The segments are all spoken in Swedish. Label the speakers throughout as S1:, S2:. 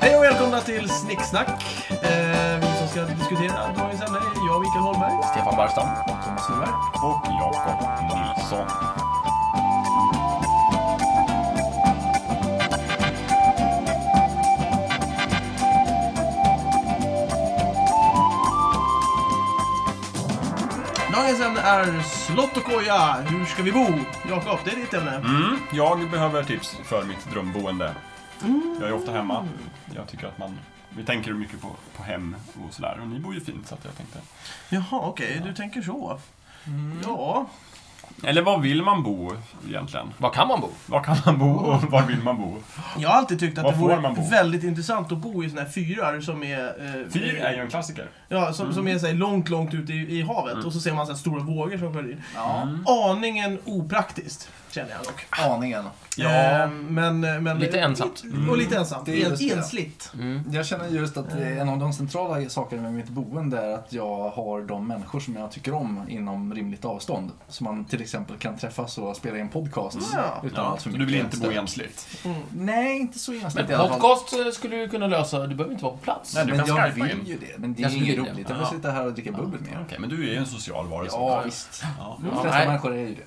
S1: välkomna till Snicksnack. Eh, vi som ska diskutera dagens ämne är jag, Mikael Holmberg.
S2: Stefan Barstam.
S1: Thomas Sundberg.
S3: och Jakob Nilsson.
S1: Dagens ämne är slott och koja. Hur ska vi bo? Jakob, det är ditt ämne.
S3: Mm, jag behöver tips för mitt drömboende. Jag är ofta hemma. Jag tycker att man... Vi tänker mycket på, på hem och sådär. Och ni bor ju fint så att jag tänkte...
S1: Jaha, okej. Du tänker så.
S3: Mm.
S1: Ja.
S3: Eller var vill man bo egentligen?
S2: Var kan man bo?
S3: Var kan man bo och var vill man bo?
S1: Jag har alltid tyckt att
S3: Var
S1: det
S3: får man bo?
S1: vore väldigt intressant att bo i såna här fyrar som är... Eh,
S3: Fyr är ju Mm. en klassiker.
S1: Ja, som, som är så här, långt, långt ute i, i havet.
S3: Mm.
S1: Och så ser man så här, stora vågor som sköljer in. Aningen opraktiskt, känner jag dock.
S4: aningen.
S3: Ja.
S1: Eh, men, men,
S2: Lite ensamt.
S1: Och lite ensamt.
S4: Det är
S3: Mm.
S4: just
S1: En,
S4: det.
S1: ensligt.
S4: Jag känner just att det är en av de centrala sakerna med mitt boende är att jag har de människor som jag tycker om inom rimligt avstånd. Så man till exempel kan träffas och spela in podcast
S1: Ja.
S4: utan
S3: Ja,
S4: allt
S3: så
S4: för
S3: du vill inte bo
S4: stöd.
S3: ensligt?
S4: Nej, inte så
S2: Men
S4: ensligt i alla fall.
S2: podcast eh, skulle du kunna lösa, du behöver inte vara på plats.
S3: Nej, du
S4: Men
S3: kan
S4: jag
S3: skypa
S4: vill
S3: in.
S4: ju det, men det
S2: Jag
S4: är
S2: skulle
S4: inget
S2: vilja.
S4: roligt. Jag vill
S3: Ja.
S4: sitta här och dricka bubbel med er.
S3: Okej, men du är ju en social varelse.
S4: Ja, visst.
S3: Ja.
S4: De flesta
S2: nej.
S4: människor är ju det.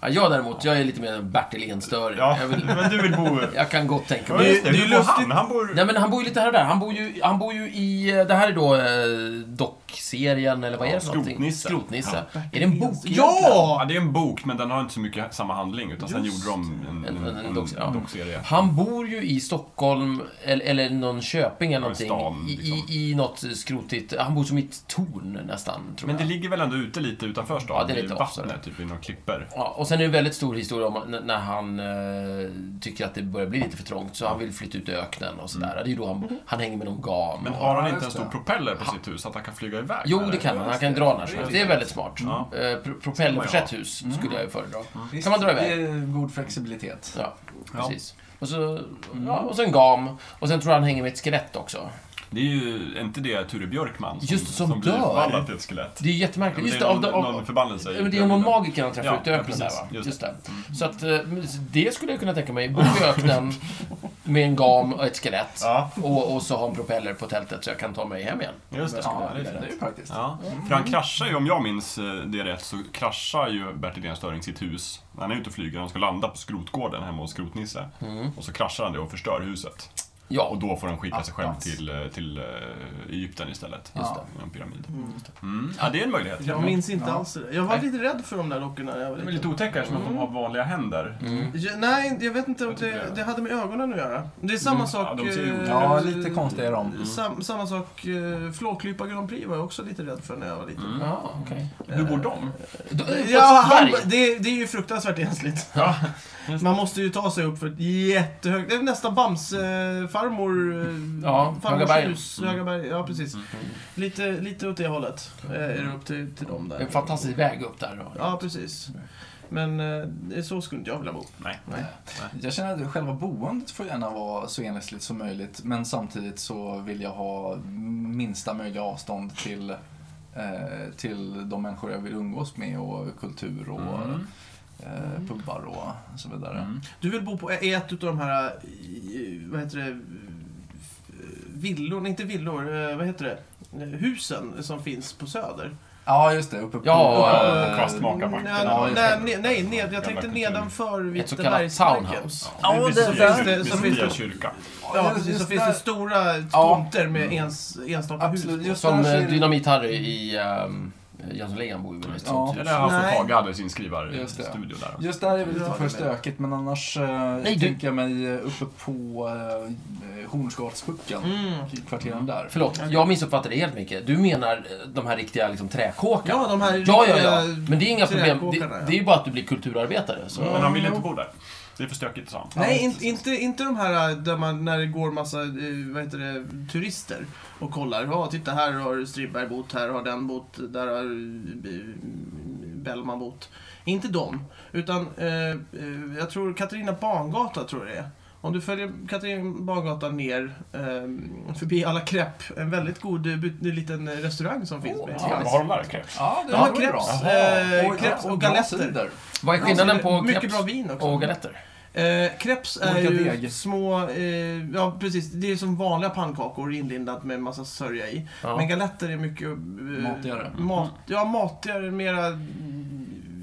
S2: Ja, jag däremot, jag är lite mer en Bertil Enstöring.
S3: Ja,
S2: Jag, vill,
S3: men du vill bo...
S2: jag kan gott tänka
S3: Ja,
S2: mig...
S3: just det,
S1: det är
S3: hur
S1: ju
S3: bor han?
S1: lustigt.
S3: Han bor...
S2: Nej men han bor ju lite här och där. Han bor ju, han bor ju i, eh, det här är då eh, dockserien eller vad
S3: Ja,
S2: är det för någonting?
S3: Skrotnisse.
S2: Skrotnisse. Är det en bok egentligen?
S1: Ja!
S3: Ja, det är en bok, men den har inte så mycket samma handling. Utan sen
S1: Just
S3: gjorde de en,
S2: En-
S3: en,
S2: en- en
S3: en
S2: dockserie, ja.
S3: dockserie.
S2: Han bor ju i Stockholm, eller, eller någon Köping eller
S3: Ja, i
S2: någonting.
S3: stan,
S2: i,
S3: liksom.
S2: i, I något skrotigt, han bor som i ett torn nästan, tror
S3: Men det
S2: jag.
S3: ligger väl ändå ute lite utanför stan?
S2: Ja, det är lite
S3: I
S2: offside.
S3: vattnet, typ i några klippor.
S2: Ja, och sen är det en väldigt stor historia om n- när han eh, tycker att det börjar bli lite för trångt, så han vill flytta ut i öknen och sådär. Det är ju då han, han hänger med någon gam.
S3: Mm. Men
S2: och-
S3: har han
S4: ja,
S3: inte en
S4: just
S3: stor
S4: det.
S3: propeller på sitt hus så att han kan flyga iväg?
S2: Jo,
S3: eller?
S2: det kan han. Han kan dra när som helst. Det är väldigt smart.
S3: Ja. Mm.
S2: Eh, pro- Propellerförsett hus skulle jag ju föredra. Kan man dra iväg?
S4: Det är god flexibilitet.
S2: Ja,
S3: Ja. Mm.
S2: precis. Och så, ja, och så en gam. Och sen tror jag han hänger med ett skelett också.
S3: Det är ju är inte det Ture Björkman
S2: Just det, som
S3: blir
S2: dör.
S3: förvandlad till ett skelett.
S2: Det är ju jättemärkligt. Just
S3: det
S2: det,
S3: är
S2: av,
S3: någon,
S2: av,
S3: någon förbannelse. i
S2: Ja, men det är någon
S3: Björkman.
S2: magiker han träffar
S3: eh, Ja,
S2: ute i
S3: ja,
S2: öknen där
S3: precis.
S2: va?
S3: Just
S2: Just,
S3: det.
S2: det. Så att eh, det skulle jag kunna tänka mig. Bo i öknen med en gam och ett skelett.
S3: Ja.
S2: Och, och så ha en propeller på tältet så jag kan ta mig hem igen.
S3: Just det.
S4: Ja,
S3: Ja, det är
S4: det är
S3: fint.
S4: ju praktiskt.
S3: Ja. För han kraschar ju, om jag minns eh, det rätt, så kraschar ju Bertil Enstöring sitt hus. Han är ute och flyger, han ska landa på skrotgården hemma hos Skrotnisse. Och så kraschar han det och förstör huset.
S2: Mm. Ja,
S3: Och då får han skicka sig själv
S4: Attans.
S3: till, eh, till eh, Egypten istället.
S2: Just
S3: Ja, En pyramid. Mm. Ja, det är en möjlighet.
S1: Jag minns inte alls det där. Jag var lite rädd för de där dockorna när jag var
S3: De är
S1: liten.
S3: lite otäcka eftersom att de har vanliga händer.
S1: Ja, nej, jag vet inte om
S3: Jag tycker
S1: det,
S3: det. Mm.
S1: det hade med ögonen att göra. Det är samma sak...
S3: Ja, de ser ju
S1: eh, Mm.
S3: olika
S4: Ja, lite konstiga är de.
S1: Sam, samma sak, eh, Flåklypa Grand Prix var jag också lite rädd för när jag var liten.
S3: Mm.
S2: ja okej.
S3: Hur bor de?
S2: Då- eh, på ett
S1: Ja, han,
S2: berg.
S1: det, det är ju fruktansvärt ensligt.
S3: Ja.
S1: Man måste ju ta sig upp för ett jättehögt... Det är nästan Bamse-farmor... Eh,
S2: Ja, Höga
S1: farmors
S2: bergen.
S1: hus, Höga berg. Ja, precis.
S3: Mm.
S1: Lite, lite åt det hållet eh, är det upp till, till dem där.
S2: En fantastisk väg upp där. Då.
S1: Ja, precis. Men eh, det är så skulle inte jag vilja bo.
S3: Nej.
S1: Nej.
S4: Jag känner att själva boendet får gärna vara så enhetligt som möjligt men samtidigt så vill jag ha minsta möjliga avstånd till, eh, till de människor jag vill umgås med och kultur och
S3: Mm.
S4: eh, pubbar och så vidare.
S1: Du vill bo på i ett utav de här, i- vad heter det, eh, villor, nej, inte villor, eh, vad heter det, husen som finns på Söder. Mm,
S4: Ja, just det. Uppe på...
S2: Ja,
S3: eh,
S4: uppe på-
S3: Kvastmakarbacken.
S1: Nej,
S4: Ja, just det.
S1: nej, nej, nej, ned, jag
S3: Gamla
S1: tänkte
S3: kultur.
S1: nedanför
S2: Ett så kallat
S1: Vittebergsparken.
S2: townhouse.
S4: Ja,
S3: Vid Sofia-
S4: det är
S1: det.
S3: vid
S1: Så finns
S3: Sofia
S1: det-
S3: kyrka.
S1: Ja, precis. Så
S4: just
S1: finns
S4: där-
S1: det stora
S4: Ja.
S1: tomter med ens, enstaka
S4: Absolut,
S1: hus.
S4: just
S2: Som
S4: där så
S2: eh,
S4: är det-
S2: Dynamit-Harry i um, Jönssonligan bor ju väl i ett
S4: Ja.
S2: sånt hus.
S3: Eller han
S1: Nej.
S3: får Tage hade sin
S4: Just det.
S3: skrivarstudio där.
S4: Just där är väl lite
S1: Ja,
S4: för stökigt men annars eh,
S2: Nej, du-
S4: tänker jag mig uppe på eh, Hornsgatspucken.
S1: Mm.
S4: Kvarteren där.
S2: Förlåt, jag missuppfattade helt mycket. Du menar eh, de här riktiga liksom, träkåkarna?
S1: Ja, de här
S2: Ja, ja, ja.
S1: riktiga
S2: Men det är inga problem. Det,
S1: trädgårdarna, ja.
S2: det är ju bara att du blir kulturarbetare. Så.
S3: Men han ville inte bo där. Det är för stökigt, sa han.
S1: Nej, inte, inte, inte de här äh, där man, när det går massa eh, vad heter det, turister och kollar. Ja, titta här har Strindberg bott, här har den bott, där har eh, Bellman bott. Inte de, utan eh, eh, jag tror Katarina Bangata tror jag det är. Om du följer Katarina Bangata ner eh, förbi alla crepe, en väldigt god eh, but- liten restaurang som finns med.
S4: vad
S3: Ja, Vad har de där? Kreps?
S4: Ja, det
S1: De har
S4: var ju bra.
S1: kreps,
S4: Jaha.
S1: eh,
S4: Oj,
S1: kreps och
S4: bra
S1: galetter.
S4: cider.
S2: Vad är skillnaden på
S1: Alltså, Mycket
S2: keps
S1: bra vin också.
S2: och galetter?
S1: Eh, crepes är
S4: Olika
S1: ju
S4: deg.
S1: små, eh, ja precis, det är som vanliga pannkakor inlindat med massa sörja i.
S2: Ja.
S1: Men galetter är mycket... Eh,
S4: Matigare.
S1: Mat, ja, matigare, mera... mm,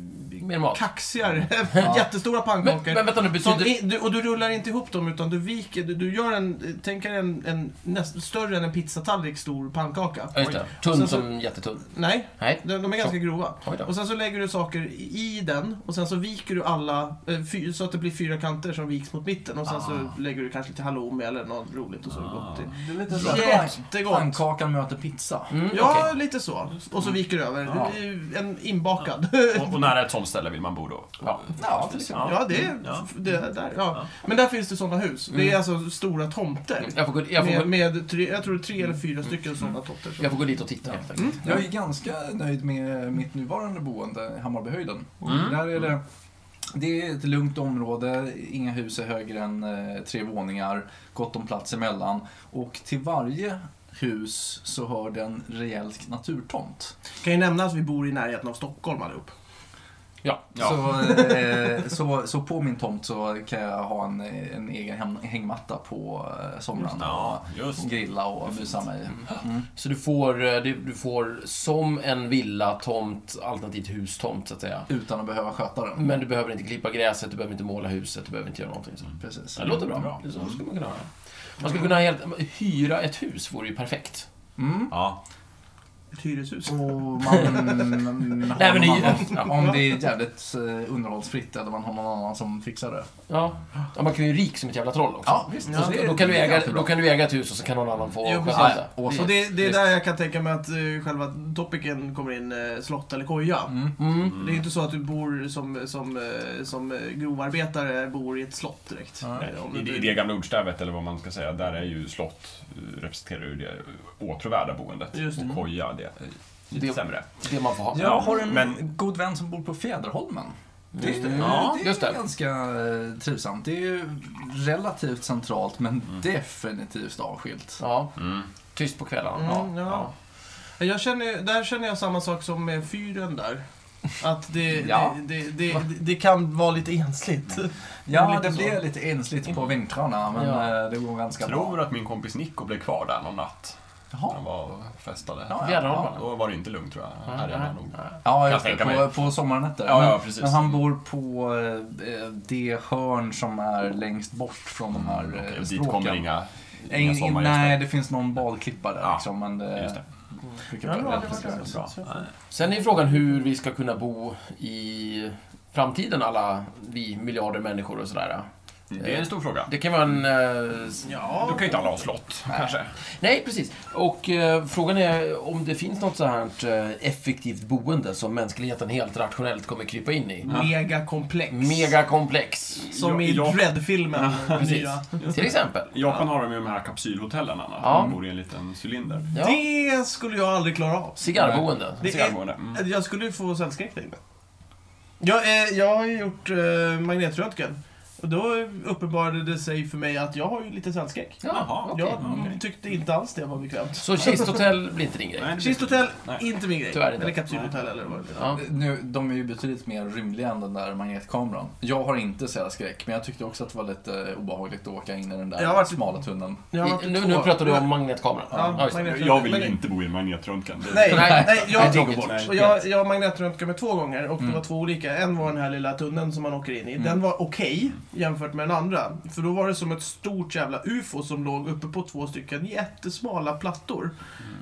S2: Mer mat.
S1: Kaxigare.
S4: Ja.
S1: Jättestora
S2: Men,
S1: pannkakor.
S2: men vänta nu,
S1: Som
S2: betyder...
S1: i- du, och du rullar inte ihop dem utan du viker, du, du gör en, tänk dig en, en näst, större än en pizzatallrik stor pannkaka.
S2: Ja, just det.
S1: Och sen så-
S2: Tunn som jättetunn.
S1: Nej,
S2: Nej.
S1: de, de är ganska grova.
S2: Oj då.
S1: Och sen så lägger du saker i den och sen så viker du alla, eh, fy, så att det blir fyra kanter som viks mot mitten och sen
S2: Ah.
S1: så lägger du kanske lite halloumi eller något roligt och så är det gott. till.
S4: Det är lite
S1: så här-
S4: Jättegott.
S1: Pann-
S4: Pannkakan möter pizza.
S2: Mm,
S1: Ja,
S2: okej. Mm. Ah.
S1: lite så. Och så viker du över.
S3: Ja.
S1: Det är En inbakad.
S3: Och, och nära ett sånt ställe vill man bo då.
S2: Ja.
S4: Ja, till exempel.
S1: Ja, det
S2: Mm,
S1: är
S5: Ja.
S1: det är där. Ja. Men där finns det sådana hus. Det är alltså stora tomter.
S2: Jag får gå, Mm. jag får
S1: Med,
S2: gå,
S1: med tre, jag tror tre eller fyra stycken sådana tomter.
S2: jag får gå dit och titta helt enkelt.
S1: Mm.
S4: Jag är ganska nöjd med mitt nuvarande boende, Hammarbyhöjden.
S1: Mm.
S4: Där är det, det är ett lugnt område, inga hus är högre än eh, tre våningar, gott om plats emellan. Och till varje hus så hör det en rejäl naturtomt.
S1: Kan ju nämna att vi bor i närheten av Stockholm allihop.
S2: Ja.
S3: Ja.
S4: Så, eh, så, så på min tomt så kan jag ha en, en egen hem, hängmatta på eh, somrarna.
S3: Ja,
S4: Och
S3: just
S4: grilla och mysa mig.
S2: Så du får, eh, du, du får som en villa, tomt, alternativt hustomt så att säga.
S4: Utan att behöva sköta den.
S2: Men du behöver inte klippa gräset, du behöver inte måla huset, du behöver inte göra någonting. Så.
S1: Mm.
S4: Precis.
S2: Det låter bra.
S3: Bra.
S2: Det är Så skulle man kunna ha. Man skulle kunna helt, hyra ett hus, vore ju perfekt.
S4: Mm.
S3: Ja.
S1: Ett
S2: Mm.
S1: hyreshus.
S4: Och man,
S2: Nej, men det är ju-
S4: man, Mm. om det är jävligt eh, underhållsfritt eller man har någon annan som fixar det.
S2: Ja. ja man kan ju rik som ett jävla troll också.
S4: Ja, visst.
S1: Ja,
S4: Så det är-
S2: Då, kan du
S4: det är
S2: äga,
S4: alltid bra.
S2: då kan du äga ett hus och så kan någon annan få
S1: Jo,
S2: sköta
S1: precis.
S2: det. Mm.
S4: Och så-
S1: Och det, det är
S2: Visst.
S1: där jag kan tänka mig att eh, själva topicen kommer in, eh, slott eller koja.
S4: Mm.
S2: Mm.
S1: Det är ju inte så att du bor som, som, eh, som eh, grovarbetare bor i ett slott direkt.
S4: Ja.
S1: Eh, om
S3: I,
S1: du-
S3: I det gamla ordstävet, eller vad man ska säga, där är ju slott, eh, representerar ju det åtråvärda boendet.
S1: Just det.
S3: Och koja, det är lite
S2: Det-
S3: sämre.
S2: Det man får ha.
S4: Jag har en
S3: Men-
S4: god vän som bor på Fjäderholmen. Det, är-
S2: Mm. Ja,
S4: det är
S2: just det.
S4: ganska eh, trivsamt. Det är ju relativt centralt men definitivt avskilt.
S2: Ja.
S3: Mm.
S2: Tyst på kvällarna. Ja.
S1: Mm, ja. Jag känner, där känner jag samma sak som med fyren där. Att det,
S4: Ja.
S1: det, det, det, det kan vara lite ensligt.
S4: Ja,
S1: Lite
S4: det
S1: så.
S4: blir lite ensligt på vintrarna men
S2: Ja.
S4: eh, det går ganska
S3: Jag tror
S4: bra.
S3: att min kompis Nico blev kvar där någon natt.
S4: Jaha.
S3: Han var och festade.
S4: Ja, ja.
S2: Fjäderholmarna.
S3: Då var det inte lugnt tror jag.
S2: Mm.
S3: Här är han nog.
S4: Ja,
S3: Kan
S4: just det.
S3: tänka
S4: På,
S3: mig.
S4: på sommarnätter.
S3: Ja, ja,
S4: Men-
S3: precis.
S4: Men han bor på eh, det hörn som är längst bort från de här eh,
S3: Mm, Okej, och dit
S4: stråken.
S3: kommer inga,
S4: Ing-
S3: inga sommargäster.
S4: nej, det finns någon badklippa där
S3: Ja,
S4: liksom, men det...
S3: Just det.
S4: brukar vara
S1: Ja, det
S4: väldigt
S1: var
S4: trevligt.
S1: bra.
S2: Sen är frågan hur vi ska kunna bo i framtiden, alla vi miljarder människor och sådär.
S3: Det är en stor fråga.
S2: Det kan vara en...
S4: Mm.
S2: eh, s-
S3: Då kan ju inte alla ha slott, kanske.
S2: Nej, precis. Och eh, frågan är om det finns något så här eh, effektivt boende som mänskligheten helt rationellt kommer krypa in i.
S4: Mm.
S1: Megakomplex.
S2: Megakomplex,
S1: Som i
S3: Ja, ja.
S1: Dread-filmen.
S2: precis.
S1: nya.
S2: Till exempel.
S3: I Japan har de ju de här kapsylhotellen, Anna.
S2: Ja.
S3: De bor i en liten cylinder.
S2: Ja.
S1: Det skulle jag aldrig klara av.
S2: Cigarrboende.
S1: Det
S3: Cigarrboende. Mm.
S1: är, jag skulle ju få cellskräck där inne. Jag, eh, jag har ju gjort eh, magnetröntgen. Och då uppenbarade det sig för mig att jag har ju lite cellskräck.
S2: Ja,
S3: Jaha,
S2: okej.
S1: jag tyckte inte alls det var bekvämt.
S2: Så kisthotell blir inte din grej?
S3: Nej, det-
S1: Kisthotell,
S3: Nej.
S1: inte min grej.
S2: Mm. Tyvärr inte.
S1: Eller kapsylhotell eller vad det är.
S2: Ja.
S4: Eh, Nu, de är ju betydligt mer rymliga än den där magnetkameran. Jag har inte sälskräck, men jag tyckte också att det var lite eh, obehagligt att åka in i den där
S1: Jag har varit-
S4: smala tunneln.
S1: Jag har varit
S2: I, nu,
S1: två-
S2: nu pratar du om magnetkameran.
S1: Ja,
S2: Ja, just det.
S1: magnetröntgen.
S3: Jag vill ju
S1: Men-
S3: inte bo i en magnetröntgen. Det-
S1: Nej, nej,
S2: Nej,
S1: nej,
S2: nej,
S1: jag,
S2: det går bort. Mm.
S1: och jag, jag magnetröntgade mig två gånger och det var två olika. En var den här lilla tunneln som man åker in i. Den var okej jämfört med den andra. För då var det som ett stort jävla UFO som låg uppe på två stycken jättesmala plattor.
S2: Mm.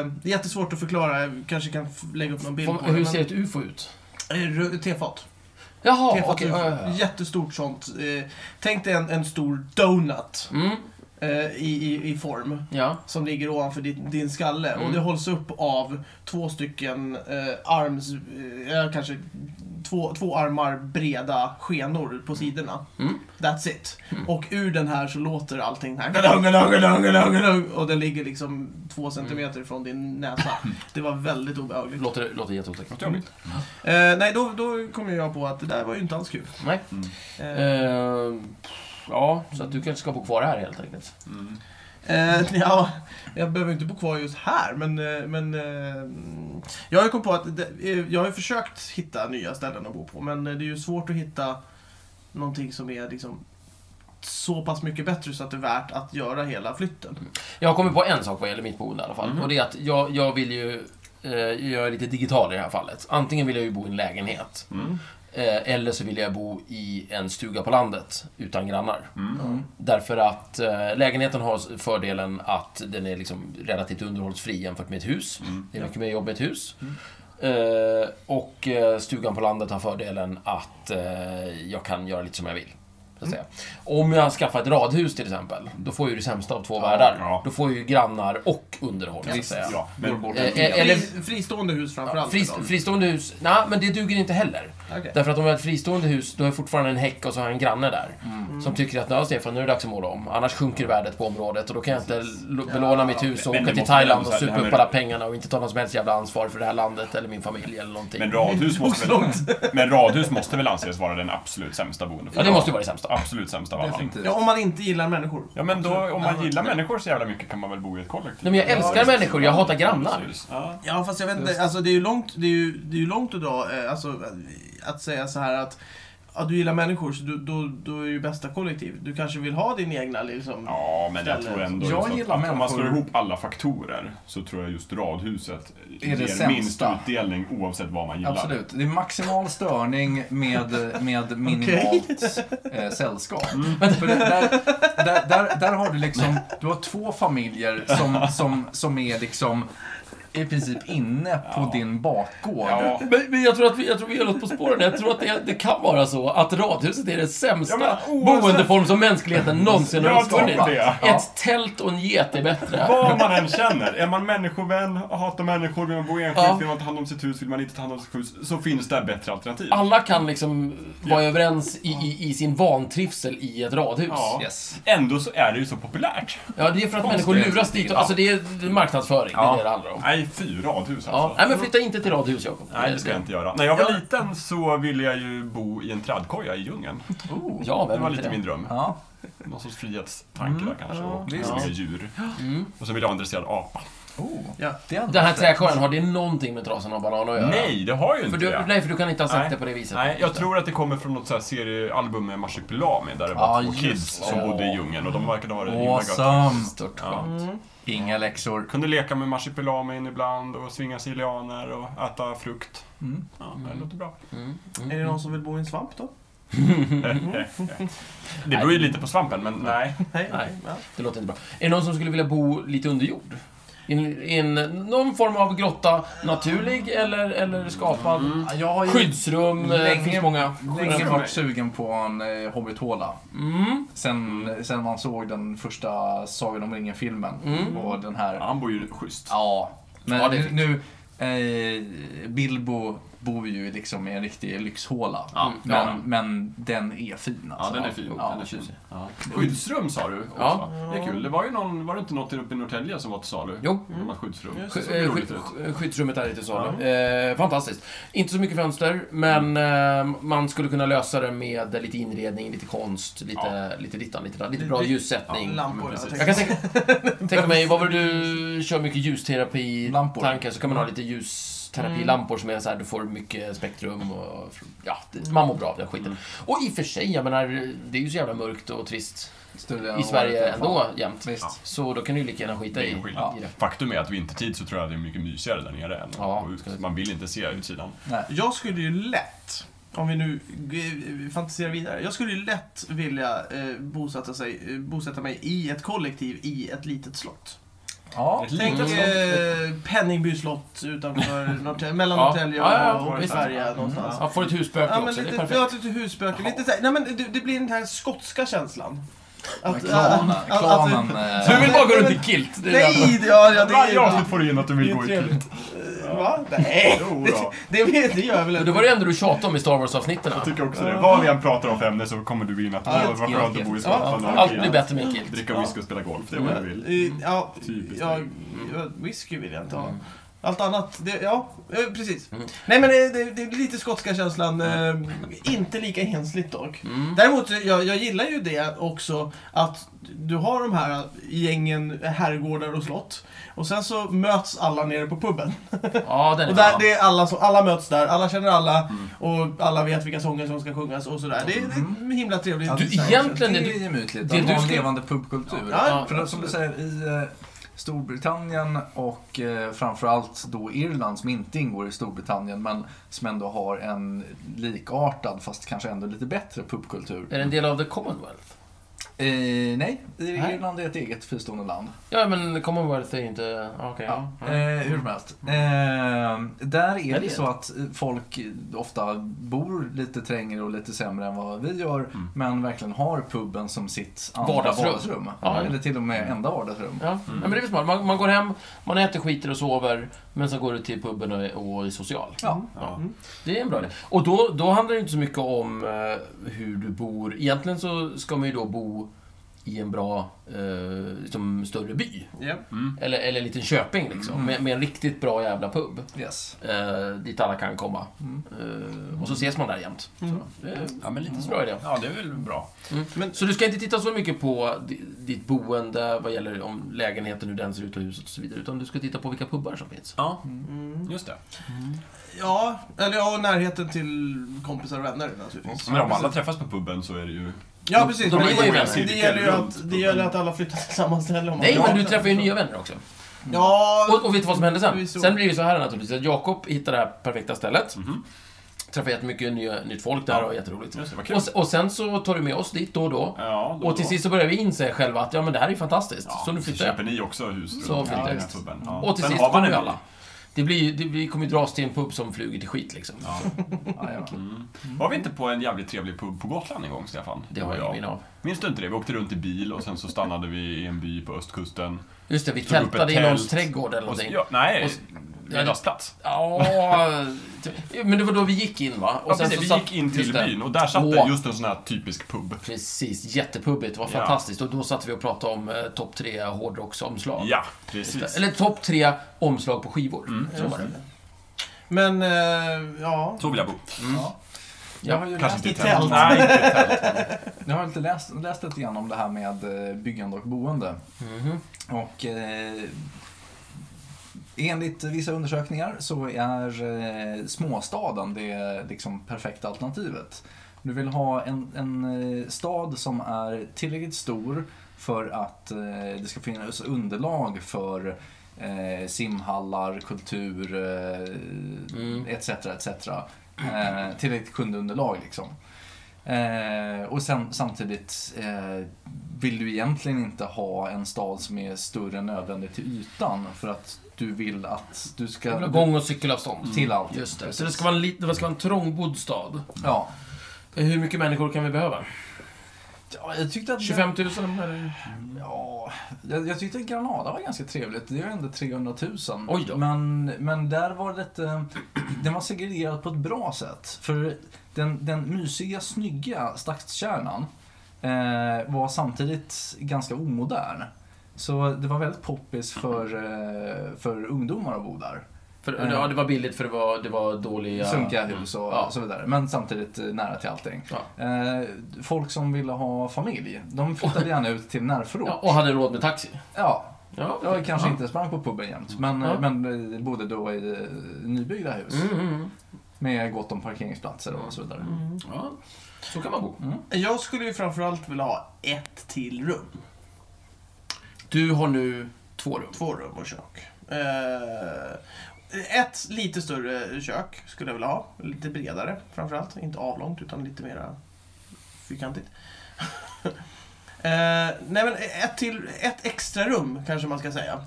S1: Eh, det är jättesvårt att förklara, jag kanske kan f- lägga upp någon bild på
S2: Får-
S1: det.
S2: Hur
S1: men-
S2: ser ett UFO ut?
S1: Eh, rö- Tefat.
S2: Jaha,
S1: Tefat
S2: okej.
S1: UFO.
S2: ja, ja, ja.
S1: Jättestort sånt. Eh, tänk dig en, en stor donut
S2: Mm,
S1: eh, i, i, i form
S2: ja.
S1: som ligger ovanför din, din skalle.
S2: Mm.
S1: Och det hålls upp av två stycken eh, arms... Eh, ja, kanske två, två armar breda skenor på sidorna.
S2: Mm.
S1: That's it. Och ur den här så låter allting här. Gadung, gadung, gadung, gadung, gadung. Och den ligger liksom
S2: Mm.
S1: två centimeter från din näsa. Det var väldigt obehagligt.
S2: Låter, låter jätteotäckt.
S3: Låter jobbigt.
S1: Eh, nej, då, då kom ju jag på att det där var ju inte alls kul.
S2: Nej.
S3: Mm.
S1: Eh,
S2: Eh, ja, så att du kanske ska bo kvar här helt enkelt.
S3: Mm.
S1: Eh, ja, jag behöver inte bo kvar just här, men, eh, men eh, jag har ju kommit på att det, eh, jag har ju försökt hitta nya ställen att bo på, men eh, det är ju svårt att hitta någonting som är liksom så pass mycket bättre så att det är värt att göra hela flytten.
S2: Jag har kommit på en sak vad gäller mitt boende i alla fall. Och det är att jag, jag vill ju... Eh, jag är lite digital i det här fallet. Antingen vill jag ju bo i en lägenhet.
S3: Mm.
S2: Eh, eller så vill jag bo i en stuga på landet utan grannar.
S3: Mm.
S2: Därför att eh, lägenheten har s- fördelen att den är liksom relativt underhållsfri jämfört med ett hus.
S3: Mm.
S2: Det är mycket mer jobb med ett hus. Eh, och eh, stugan på landet har fördelen att eh, jag kan göra lite som jag vill. Så
S3: Mm.
S2: att säga. Om jag skaffar ett radhus till exempel, då får jag ju det sämsta av två världar.
S3: ja.
S2: Då får jag ju grannar och underhåll. så att
S4: Visst,
S2: säga.
S3: Ja, men,
S4: Norrbotten.
S2: Eh, eh, eller,
S1: Fri, fristående hus framförallt.
S2: frist, fristående hus, nej men det duger inte heller.
S1: Okej.
S2: Därför att om jag har ett fristående hus, då har jag fortfarande en häck och så har jag en granne där.
S3: Mm.
S2: Som tycker att, ja Stefan, nu är det dags att måla om. Annars sjunker värdet på området och då kan jag inte lo- belåna mitt hus och
S3: Men det
S2: åka till
S3: måste
S2: Thailand
S3: ändå
S2: och
S3: så här, det
S2: supa
S3: här
S2: upp
S3: med-
S2: alla pengarna och inte ta någon som helst jävla ansvar för det här landet eller min familj eller någonting.
S3: men, radhus måste väl, men radhus måste väl anses vara den absolut sämsta boendeformen?
S2: ja, det måste ju vara det sämsta.
S3: Absolut sämsta av allting.
S4: Definitivt.
S1: Ja, om man inte gillar människor.
S3: Ja, men då, om man gillar människor så jävla mycket kan man väl bo i ett kollektiv?
S2: Nej, men jag älskar
S3: Ja, visst.
S2: människor, jag hatar grannar.
S3: Precis. Ja.
S1: Ja, fast jag vet inte. Alltså, det är ju långt, det är ju, det är ju långt att dra. eh, Alltså, att säga så här att ja, du gillar människor, så du, då, då är det ju bästa kollektiv. Du kanske vill ha din egna liksom...
S3: Ja, men jag tror ändå
S4: Jag
S3: just att,
S4: gillar
S3: att om man slår
S4: människor.
S3: ihop alla faktorer så tror jag just radhuset
S4: det
S3: ger
S4: sämsta.
S3: minst utdelning oavsett vad man gillar.
S4: Absolut. Det är maximal störning med, med minimalt eh, sällskap.
S3: Mm.
S4: För det, där, där, där, där har du liksom, du har två familjer som, som, som är liksom i princip inne på
S3: Ja.
S4: din bakgård.
S3: Ja.
S2: Men, men jag tror att vi, jag tror vi är något på spåren. Jag tror att det, det kan vara så att radhuset är den sämsta
S3: Ja, men oavsett-
S2: boendeform som mänskligheten någonsin har
S3: Jag tror
S2: uppfunnit.
S3: det.
S4: Ja.
S2: Ett tält och en get är bättre.
S3: Vad man än känner, är man människovän, hatar människor, vill man bo enskilt,
S2: Ja.
S3: vill man ta hand om sitt hus, vill man inte ta hand om sitt hus, så finns det bättre alternativ.
S2: Alla kan liksom vara överens i, i, i sin vantrivsel i ett radhus.
S3: Ja.
S4: Yes.
S3: Ändå så är det ju så populärt.
S2: Ja, det är för att
S4: Konstigt.
S2: människor luras dit. Och,
S4: Ja.
S2: alltså det är marknadsföring, det är det det handlar om.
S3: Nej, fy radhus
S2: Ja.
S3: alltså.
S2: Nej, men flytta inte till radhus, Jakob.
S3: Nej, det ska jag inte göra. När jag var liten så ville jag ju bo i en trädkoja i djungen.
S4: Oh.
S2: Ja,
S3: Det
S2: vem
S3: var
S2: vill
S3: lite
S2: inte
S3: min
S2: det?
S3: dröm.
S4: Ja.
S3: Någon sorts frihetstanke där kanske. Och
S4: visst.
S3: ja. djur. Och sen ville jag ha en dresserad apa.
S4: Oh.
S1: Ja.
S4: Det är
S2: Den här träsjön, har det någonting med trasan av banan att göra?
S3: Nej, det har ju
S2: För
S3: inte
S2: du,
S3: det.
S2: nej, för du kan inte ha sagt
S3: Nej.
S2: det på det viset.
S3: Nej, jag tror att det kommer från något så här seriealbum med Marsupilami där det
S2: Ah,
S3: var två
S2: just
S3: kids
S2: det.
S3: som bodde i djungen och de verkade ha det himla gött.
S4: Awesome!
S2: Stört
S3: Ja.
S4: Inga läxor.
S3: Kunde leka med Marsipilamin ibland och svinga sig i lianer och äta frukt.
S4: Mm.
S3: Ja, det låter bra.
S1: Är det någon som vill bo i en svamp då?
S3: Det beror ju lite på svampen, men nej.
S1: Nej.
S2: Nej.
S1: Ja.
S2: Det låter inte bra. Är det någon som skulle vilja bo lite under jord? I en, i en, någon form av grotta, naturlig eller, eller skapad?
S3: Mm.
S4: Jag har ju
S2: Skyddsrum, eh,
S4: Länge-
S2: finns många.
S4: länge varit sugen på en eh, hobbithåla.
S2: Mm.
S4: Sen, sen man såg den första Sagan om ringen-filmen och den här...
S3: Ja,
S4: Ja,
S3: Han bor ju schysst.
S4: men
S2: Ja, det är fint.
S4: nu... Eh, Bilbo bor ju liksom i en riktig lyxhåla.
S3: Ja,
S4: men,
S2: ja.
S4: men den är fin
S3: Ja,
S4: alltså.
S3: den är fin.
S4: Ja.
S3: Den är fin. Skyddsrum sa du också.
S2: Ja.
S3: Det är kul. Det var ju någon, var det inte något uppe i Norrtälje som var till salu?
S2: Jo.
S3: Mm. Skyddsrum.
S1: Just
S3: Så
S2: Sk-
S3: det
S2: eh,
S3: roligt
S2: sk-
S3: ut.
S2: sk- Skyddsrummet är lite salu. Eh, fantastiskt. Inte så mycket fönster,
S3: Mm.
S2: men eh, man skulle kunna lösa det med lite inredning, lite konst, lite, lite dittan, lite där. Lite bra
S1: Det- det-
S2: ljussättning.
S1: Lampor,
S3: men
S1: jag
S3: precis.
S1: tänkte.
S2: Jag kan tänka, tänka mig, vad var det du kör mycket ljusterapi
S4: Lampor.
S2: tankar så kan man
S1: Mm.
S2: ha lite ljusterapilampor som är så här, du får mycket spektrum och ja, det- man mår bra av den skiten.
S3: Mm.
S2: Och i och för sig, jag menar, det är ju så jävla mörkt och trist
S4: Större än
S2: i
S4: året
S2: Sverige
S4: alla fall.
S2: ändå jämt.
S4: Visst.
S2: Så då kan du ju lika gärna skita
S3: Det är
S2: i,
S3: ingen skillnad.
S2: i det.
S3: Faktum är att vintertid så tror jag att det är mycket mysigare där nere än
S2: Ja.
S3: ja. ut. Man vill inte se utsidan.
S1: Jag skulle ju lätt, om vi nu eh, fantiserar vidare, jag skulle ju lätt vilja eh, bosätta, sig, eh, bosätta mig i ett kollektiv i ett litet slott.
S4: Ja.
S3: Ett litet
S1: Tänk
S2: Mm.
S3: slott.
S1: eh, Penningby slott utanför Norrtälje, mellan
S2: Ja.
S1: Norrtälje
S2: Ja, ja, Mm.
S1: och,
S3: ja,
S1: och
S3: visst.
S1: Sverige någonstans.
S2: Ja, får ett husböke
S1: Ja, men
S2: också, det är
S1: lite,
S2: perfekt.
S1: ja, lite husböcker. Lite så här, nej, men det, det blir den här skotska känslan.
S4: Men Klanen,
S1: att-
S4: klanen...
S2: Så du
S4: eh,
S2: vill bara gå runt i kilt? Det är det enda.
S1: Nej, det, ja, ja, det är
S3: Varje
S1: ju...
S3: avsnitt får du in att du
S1: Det är
S3: vill
S1: ju
S3: gå i
S1: trevligt. Eh, Va? Nej,
S3: Jo
S1: det,
S3: då.
S1: det, vet- det gör jag väl
S2: Men det var det enda du tjatade om i Star Wars-avsnitten.
S3: Jag tycker också det. Vad vi än pratar om för ämne så kommer du in att
S1: Ja,
S3: åh, vad
S4: helt,
S3: skönt att bo i
S4: helt.
S3: Skottland.
S1: Ja,
S3: och
S2: Allt
S3: Norge."
S2: blir bättre med en kilt.
S3: Dricka whisky och spela golf, det är vad du vill.
S1: Eh, Ja,
S3: Typiskt.
S2: Mm.
S1: ja, ja, whisky vill jag inte ha. Allt annat, det, ja, eh, precis. Nej men eh, det, det, det är lite skotska känslan, eh, inte lika ensligt dock.
S2: Mm.
S1: Däremot, jag, jag gillar ju det också att du har de här gängen herrgårdar och slott. Och sen så möts alla nere på puben.
S2: Ja, Mm. den är
S1: Och där,
S2: bra.
S1: det är alla, som, alla möts där, alla känner alla och alla vet vilka sånger som ska sjungas och sådär. Det, det är himla trevligt.
S2: Mm. Du, egentligen
S4: det
S2: det
S4: är
S2: du...
S4: gemytligt.
S2: det
S4: Det
S2: du
S4: du en
S2: ska-
S4: levande pubkultur.
S1: Ja,
S4: För som du säger, i eh, Storbritannien och eh, framförallt då Irland som inte ingår i Storbritannien men som ändå har en likartad fast kanske ändå lite bättre pubkultur.
S2: Är det en del av the Commonwealth?
S4: Eh, nej, i
S2: Nej.
S4: Irland är ett eget fristående land.
S2: Ja, men Commonwealth är inte... ja, Okej.
S4: Ja,
S2: ja.
S4: eh, hur som helst. Eh, där
S2: Ja,
S4: är
S2: det
S4: det
S2: är
S4: så att folk ofta bor lite trängre och lite sämre än vad vi gör, men verkligen har puben som sitt andra
S2: Mm. Vardagsrum.
S4: vardagsrum.
S2: Ja.
S4: Eller till och med enda vardagsrum.
S2: Ja. ja, men det är väl smart. Man, man går hem, man äter, skiter och sover, men sen går du till puben och, är- och är social.
S4: Ja.
S3: Ja. Mm.
S2: Det är en bra idé. Och då, då handlar det inte så mycket om eh, hur du bor. Egentligen så ska man ju då bo i en bra, eh, liksom större by.
S1: Ja.
S2: Eller, eller en liten köping liksom. Med, med en riktigt bra jävla pub.
S4: Yes.
S2: Eh, dit alla kan komma. Eh, och så ses man där jämt. Så, det är
S3: Ja, men lite
S2: en bra idé.
S3: Ja, det är väl bra.
S1: Men-
S2: Så du ska inte titta så mycket på di- ditt boende vad gäller om lägenheten, hur den ser ut och huset och så vidare. Utan du ska titta på vilka pubbar som finns.
S3: Ja, Mm. just det.
S1: Ja, eller ja, och närheten till kompisar och vänner naturligtvis.
S3: Men om alla träffas på puben så är det ju...
S1: Ja, precis.
S2: Mm. De
S1: men
S2: blir
S1: det,
S2: ju
S1: gäller- det gäller
S3: vänner.
S1: ju att, det
S3: Cirkeln
S1: gäller
S3: runt.
S1: att alla flyttar till samma ställe. Om man-
S2: Nej,
S1: Ja.
S2: men du träffar ju nya vänner också.
S1: Ja,
S2: Och, och vet du vad som hände sen?
S1: Förvisso.
S2: Sen blir det ju så här naturligtvis att Jakob hittar det här perfekta stället. Träffar jättemycket nya, nytt folk där och jätteroligt.
S3: Mhm. Just det, vad kul.
S2: Och, och sen så tar du med oss dit då och då.
S3: Ja, då
S2: och till
S3: då.
S2: sist så börjar vi inse själva att ja, men det här är ju fantastiskt.
S3: Ja,
S2: så nu
S3: så
S2: flyttar jag.
S3: köper ni också hus
S2: Så
S3: runt omkring
S2: flyttar jag.
S3: den här puben. Ja.
S2: Och till
S3: Sen
S2: sist
S3: har man
S2: kommer ju
S3: en
S2: alla. Det blir, ju- det, vi kommer ju dras till en pub som flyger till skit liksom.
S4: Jajamän.
S3: Var vi inte på en jävligt trevlig pub på Gotland en gång, Stefan?
S2: Det har
S3: Du och
S2: jag ingen minne av.
S3: Minns du inte det? Vi åkte runt i bil och sen så stannade vi i en by på östkusten.
S2: Just det, vi
S3: Tog upp ett
S2: tältade i någons
S3: tält.
S2: trädgård eller
S3: Och, s-
S2: någonting.
S3: ja, nej,
S2: Och s-
S3: en rastplats.
S2: Ja, men det var då vi gick in va? Och
S3: Ja, precis, vi
S2: satt-
S3: gick in till
S2: just det.
S3: byn och där satt det
S2: Åh.
S3: just en sån här typisk pub.
S2: Precis, jättepubbigt. Det var
S3: Ja.
S2: fantastiskt. Och då satt vi och pratade om eh, topp tre hårdrocksomslag.
S3: Ja, precis.
S2: Eller topp tre omslag på skivor. Så var det.
S1: men eh, ja.
S3: Så vill jag bo.
S4: Ja.
S2: Ja.
S4: Jag har ju
S3: Kanske
S4: läst,
S3: inte i
S1: i
S3: tält.
S1: tält.
S3: Nej, inte i tält.
S4: jag har lite läst, läst lite grann om det här med eh, byggande och boende.
S2: Mhm.
S4: Och eh, enligt vissa undersökningar så är eh, småstaden det liksom perfekta alternativet. Du vill ha en, en eh, stad som är tillräckligt stor för att eh, det ska finnas underlag för eh, simhallar, kultur
S2: Mm.
S4: eh, etc. etc. Eh, tillräckligt kundunderlag liksom. Eh, och sen, samtidigt eh, vill du egentligen inte ha en stad som är större än nödvändigt till ytan för att du vill att du
S2: Det
S4: ska...
S2: var Gång och cykelavstånd.
S4: Till allt.
S2: Mm. Just det. Så det ska vara en, lit- det ska vara en trångbodd stad.
S4: Ja.
S2: Eh, Hur mycket människor kan vi behöva?
S4: ja jag tyckte att...
S2: 25 000? Eller?
S4: Ja, jag, jag tyckte att Granada var ganska trevligt. Det är ju ändå 300 000.
S2: Oj då.
S4: Men, men där var det lite... Den var segregerad på ett bra sätt. För den, den mysiga, snygga stadskärnan eh, var samtidigt ganska omodern. Så det var väldigt poppis för, eh, för ungdomar att bo där.
S2: För,
S4: Mm.
S2: ja, det var billigt för det var, det var dåliga...
S4: Sunkiga hus och,
S2: Mm. Ja.
S4: och så vidare. Men samtidigt eh, nära till allting.
S2: Ja.
S4: Eh, folk som ville ha familj, de flyttade gärna ut till närförort.
S2: Ja, och hade råd med taxi.
S4: Ja,
S2: Ja,
S4: jag kanske
S2: ja.
S4: inte sprang på puben jämt, men,
S2: Ja.
S4: men eh, bodde då i eh, nybyggda hus
S2: Mm, mm, mm.
S4: med gott om parkeringsplatser och så vidare. Mm.
S2: Ja, så kan man bo.
S1: Mm. Jag skulle ju framförallt vilja ha ett till rum.
S2: Du har nu två rum.
S1: Två rum och kök. Eh, ett lite större kök skulle jag vilja ha. Lite bredare framförallt. Inte avlångt utan lite mera fyrkantigt. eh, nej men ett, till, ett extra rum kanske man ska säga.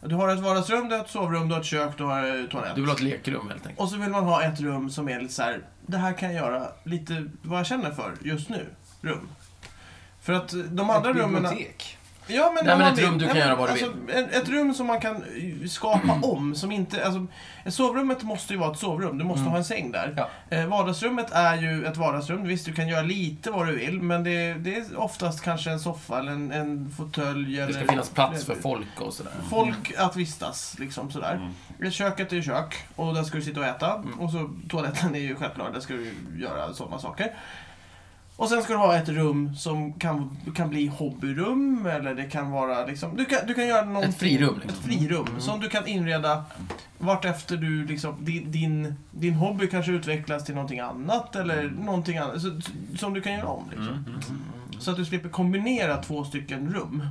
S1: Du har ett vardagsrum, du har ett sovrum, du har ett kök, du har eh, toalett.
S2: Du vill ha ett lekrum helt enkelt.
S1: Och så vill man ha ett rum som är lite så här, det här kan jag göra lite vad jag känner för just nu, rum. För att de andra
S4: Ett
S1: rummen...
S4: bibliotek.
S1: Ja, men
S2: Nej,
S1: om
S2: men
S1: man
S2: ett
S1: vill-
S2: rum du
S1: nej,
S2: kan
S1: men
S2: göra vad du
S1: alltså, Ett, ett rum som man kan eh, skapa om. Som inte, alltså, sovrummet måste ju vara ett sovrum. Du måste
S2: Mm.
S1: ha en säng där.
S4: Ja.
S1: Eh, vardagsrummet är ju ett vardagsrum. Visst, du kan göra lite vad du vill. Men det, det är oftast kanske en soffa eller en, en fåtölj. Eh,
S2: Det ska finnas plats för folk och sådär.
S1: Folk att vistas, liksom sådär.
S3: Mm,
S1: Köket är ju kök och där ska du sitta och äta. Och så toaletten är ju självklart, där ska du göra sådana saker. Och sen ska du ha ett rum som kan, kan bli hobbyrum eller det kan vara liksom... Du kan, du kan göra någon...
S2: Ett frirum, liksom.
S1: Ett frirum som du kan inreda vart efter du liksom... Din, din, din hobby kanske utvecklas till någonting annat eller
S2: Mm.
S1: någonting annat. Så, som du kan göra om liksom. Så att du slipper kombinera två stycken rum.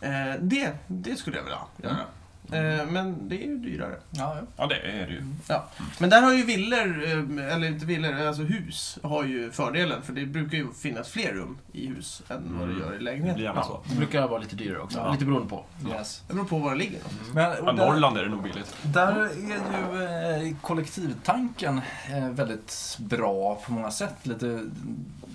S1: Eh, det, det skulle jag vilja
S2: mm.
S1: göra. Eh, men det är ju dyrare.
S4: Ja, ja.
S3: Ja, det är det ju.
S1: Ja. Men där har ju villor, eh, eller inte villor, alltså hus, har ju fördelen. För det brukar ju finnas fler rum i hus än vad det gör i
S3: Mm. Det
S1: lägenheter.
S3: blir gärna så.
S2: Det brukar vara lite dyrare också. Lite beroende på.
S4: Yes.
S1: Det beror på var det ligger. någonstans.
S4: Men,
S3: Ja,
S4: och där,
S3: Norrland är det nog billigt.
S4: där är ju eh, kollektivtanken eh, väldigt bra på många sätt. Lite,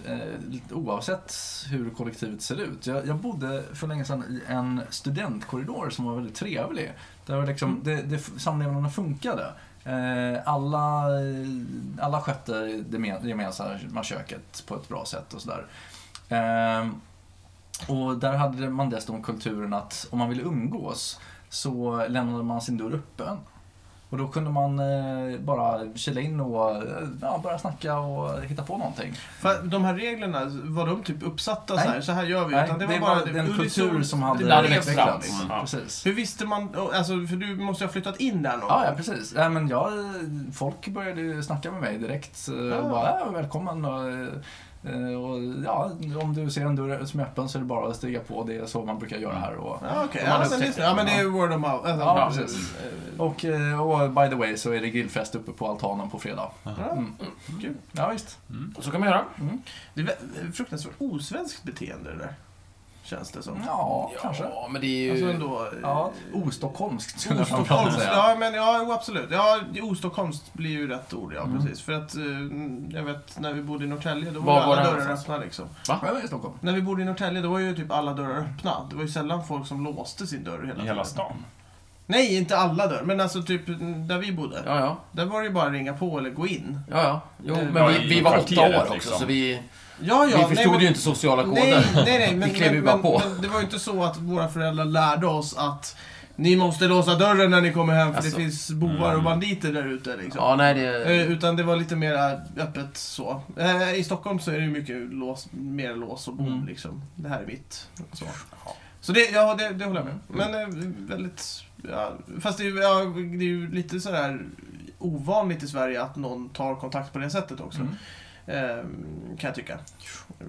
S4: eh, lite oavsett hur kollektivet ser ut. Jag, jag bodde för länge sedan i en studentkorridor som var väldigt trevlig. Där var liksom, det, det, samlevnaden funkade. Eh, Alla, eh, alla skötte det me- gemensamma köket på ett bra sätt och sådär. Eh, Och där hade man dessutom kulturen att om man ville umgås så lämnade man sin dörr öppen. Och då kunde man eh, bara kila in och eh, ja, börja snacka och hitta på någonting.
S1: För de här reglerna, var de typ uppsatta
S4: Nej.
S1: så här, så här gör vi?
S4: Nej,
S1: utan
S4: det, var bara den
S1: unison-
S4: kultur som hade
S1: det blev
S2: växt
S1: så.
S2: fram.
S4: utvecklats.
S3: Mm.
S4: Precis.
S1: Hur visste man, alltså, för du måste ju ha flyttat in där någon
S4: Ja, ja
S1: gång.
S4: precis. Nej, men jag, folk började ju snacka med mig direkt. Ja.
S1: Ja.
S4: Bara, ja, välkommen. Och, eh, och, ja, om du ser en dörr som är öppen så är det bara att stiga på. Det är så man brukar göra här. Och,
S1: Ja, okej.
S2: De hade
S1: Ja, men
S2: upptäckt
S1: det- ja, men
S2: det.
S1: det är ju word of mouth. Alltså,
S4: Ja,
S1: bra.
S4: precis.
S1: Eh,
S4: och, eh, och by the way så är det grillfest uppe på altanen på fredag.
S1: ja,
S4: Mm.
S1: kul.
S4: Ja, visst.
S2: Så kan man göra.
S1: Det är vä- fruktansvärt osvenskt beteende det där. Känns det som.
S4: Ja, kanske.
S2: Ja, men det är ju...
S1: Alltså ändå... eh,
S4: Ja, ostockholmskt skulle jag framförallt
S1: Ostockholmskt,
S4: säga.
S1: ja men ja jo, absolut. Ja, ostockholmskt blir ju rätt ord ja,
S2: Mm.
S1: precis. För att eh, jag vet när vi bodde i Norrtälje då var,
S2: Var
S1: ju
S2: var
S1: alla
S2: det
S1: dörrar
S2: någonstans?
S1: öppna liksom.
S4: Jag är i Stockholm.
S1: När vi bodde i Norrtälje då var ju typ alla dörrar öppna. Det var ju sällan folk som låste sin dörr hela
S3: I
S1: tiden.
S3: hela stan.
S1: Nej, inte alla dörrar, men alltså typ mm, där vi bodde.
S2: Ja, ja.
S1: Där var det ju bara att ringa på eller gå in.
S2: Ja, ja. Jo,
S1: Eh,
S2: men
S3: i
S2: vi, vi var åtta
S3: kvarteret,
S2: år också,
S3: liksom.
S2: så vi,
S1: Ja, ja,
S2: vi förstod
S1: men-
S2: ju inte sociala koder.
S1: Nej, nej, nej. Men,
S2: vi klev ju
S1: men,
S2: bara
S1: men,
S2: på.
S1: men det var ju inte så att våra föräldrar lärde oss att ni måste låsa dörren när ni kommer hem för
S2: Alltså.
S1: det finns bovar och banditer där ute. Liksom.
S2: ja, nej, det...
S1: Eh, Utan det var lite mer öppet så. Eh, I Stockholm så är det ju mycket lås, mer lås och bom
S4: Mm.
S1: liksom. Det här är mitt. Så, så det, ja, det, det håller jag med. Men eh, väldigt... Ja, fast det är, ju- ja, det är ju lite sådär ovanligt i Sverige att någon tar kontakt på det sättet också.
S4: Mm.
S1: Eh, kan jag tycka.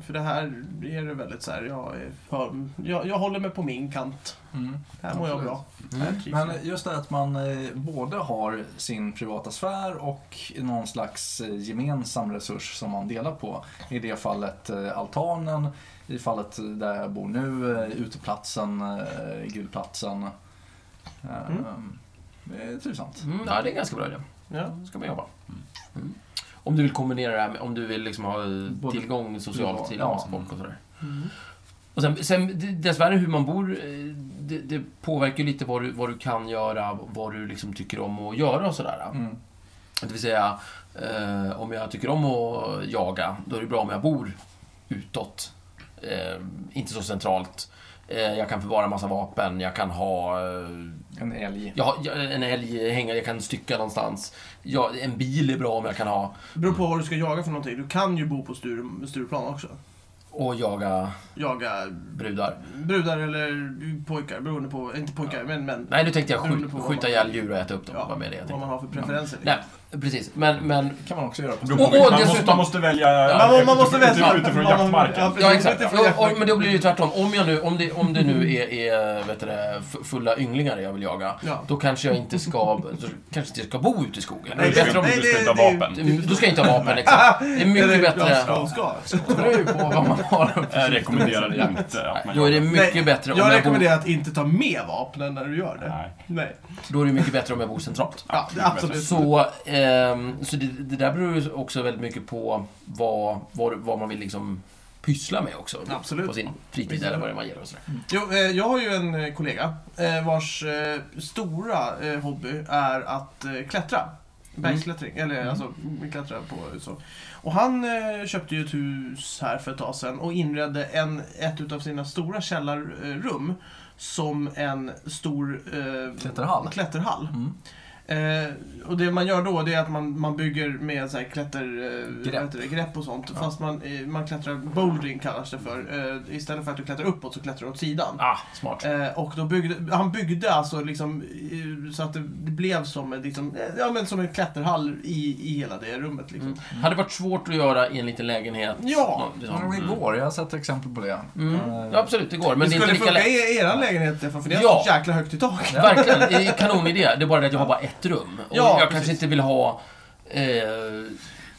S1: För det här är det väldigt så här, jag, är för, jag, jag håller mig på min kant.
S4: Mm.
S1: Här mår jag
S4: Absolut. Mm.
S1: bra. Här typ. trivs
S4: Men
S1: jag.
S4: just det att man eh, både har sin privata sfär och någon slags eh, gemensam resurs som man delar på. I det fallet eh, altanen, i fallet eh, där jag bor nu, eh, uteplatsen, eh, grillplatsen. Eh, Det är trivsamt.
S2: Mm, ja, det är en ganska bra idé.
S1: Ja.
S2: Så ska man jobba. Mm. Om du vill kombinera det här med, om du vill liksom ha eh,
S4: Både-
S2: tillgång, social
S4: Ja,
S2: tillgång
S4: ja.
S2: till folk och sådär.
S1: Mm.
S2: Och sen, sen d- dessvärre hur man bor, eh, det, det påverkar ju lite vad du, vad du kan göra, vad du liksom tycker om att göra och sådär.
S4: Mm.
S2: Det vill säga, eh, om jag tycker om att jaga, då är det bra om jag bor utåt. Eh, inte så centralt. Eh, jag kan förvara massa vapen, jag kan ha eh,
S4: En älg.
S2: jag har jag- en älg hängare, jag kan stycka någonstans. Jag, en bil är bra om jag kan ha.
S1: Beror på vad du ska jaga för någonting. Du kan ju bo på Sture, Stureplan också.
S2: Och jaga
S1: Jaga
S2: brudar.
S1: brudar eller pojkar, beroende på, inte pojkar, men män.
S2: Nej, nu tänkte jag
S1: Beroende på
S2: skjut,
S1: vad
S2: skjuta
S1: man-
S2: ihjäl djur och äta upp dem.
S1: Ja,
S2: Vad med det jag
S1: vad
S2: tänkte.
S1: man har för preferenser. liksom.
S2: Nej, precis. Men, men
S4: kan man också göra på
S3: Det beror
S2: Och-
S3: på-
S2: och
S3: man, måste,
S2: dessutom-
S3: man måste välja
S1: man
S3: utifrån-
S1: måste
S3: utifrån-
S1: välja-
S3: typ utifrån
S1: man-
S3: jaktmarken.
S1: ja, precis.
S2: Ja, exakt.
S1: Lite för
S2: Ja,
S1: jäkla-
S2: och, men då blir det ju tvärtom. Om, jag nu, om, det, om det nu är, är vet du, det, f- fulla ynglingar jag vill jaga,
S1: Ja.
S2: då kanske jag inte ska, då kanske inte ska bo ute i skogen. Det
S3: Nej,
S2: är
S3: det är bättre
S2: bättre om,
S3: om
S1: nej,
S3: du
S1: det-
S3: ska
S1: det är ju-
S3: ta vapen.
S2: du ska inte ha vapen, exakt. Det är mycket
S1: Eller,
S2: bättre.
S1: Ja, ska, ska.
S4: Det beror ju på vad man har.
S3: Jag rekommenderar inte att man
S2: Då är det
S3: gör
S2: mycket
S1: Nej,
S2: bättre om
S1: Jag
S2: jag bor,
S1: rekommenderar att inte ta med vapnen när du gör det.
S3: Nej.
S1: Nej.
S2: då är det mycket bättre om jag bor centralt.
S1: Ja, det är absolut.
S2: Så, ehm, så det, det där beror ju också väldigt mycket på vad, vad, vad man vill liksom pysslar med också.
S1: Absolut.
S2: På sin fritid eller vad det är man gillar och sådär.
S1: Jo, eh, jag har ju en eh, kollega eh, vars eh, stora eh, hobby är att eh,
S4: Mm.
S1: klättra. Bergsklättring, eller alltså klättra på så. Och han eh, köpte ju ett hus här för ett tag sedan och inredde en, ett utav sina stora källarrum som en stor eh,
S4: Klätterhall.
S1: klätterhall.
S4: Mm.
S1: Eh, och det man gör då det är att man, man bygger med så här klätter, eh,
S4: Grepp.
S1: vad heter det, grepp och sånt. Fast man, eh, man klättrar, bouldering kallas det för. Eh, istället för att du klättrar uppåt så klättrar du åt sidan.
S2: Ah, smart.
S1: Eh, och då byggde, han byggde alltså liksom eh, så att det blev som en, liksom, eh, ja, men som en klätterhall i, i hela det rummet. Liksom.
S2: Mm. Hade varit svårt att göra i en liten lägenhet.
S1: Ja.
S2: Nå- liksom.
S4: Ja, det går. Jag har sett exempel på det.
S2: Mm. Ja, absolut, det går. Men
S1: Men
S2: det
S1: det
S2: är inte
S1: skulle
S2: lika
S1: funka
S2: lätt.
S1: i er lägenhet Stefan, för det är
S2: Ja.
S1: så jäkla högt i tak.
S2: Verkligen, det är kanonidé. Det är bara det att jag har bara ett rum. Och
S1: Ja,
S2: jag
S1: precis.
S2: kanske inte vill ha eh,
S4: Nej,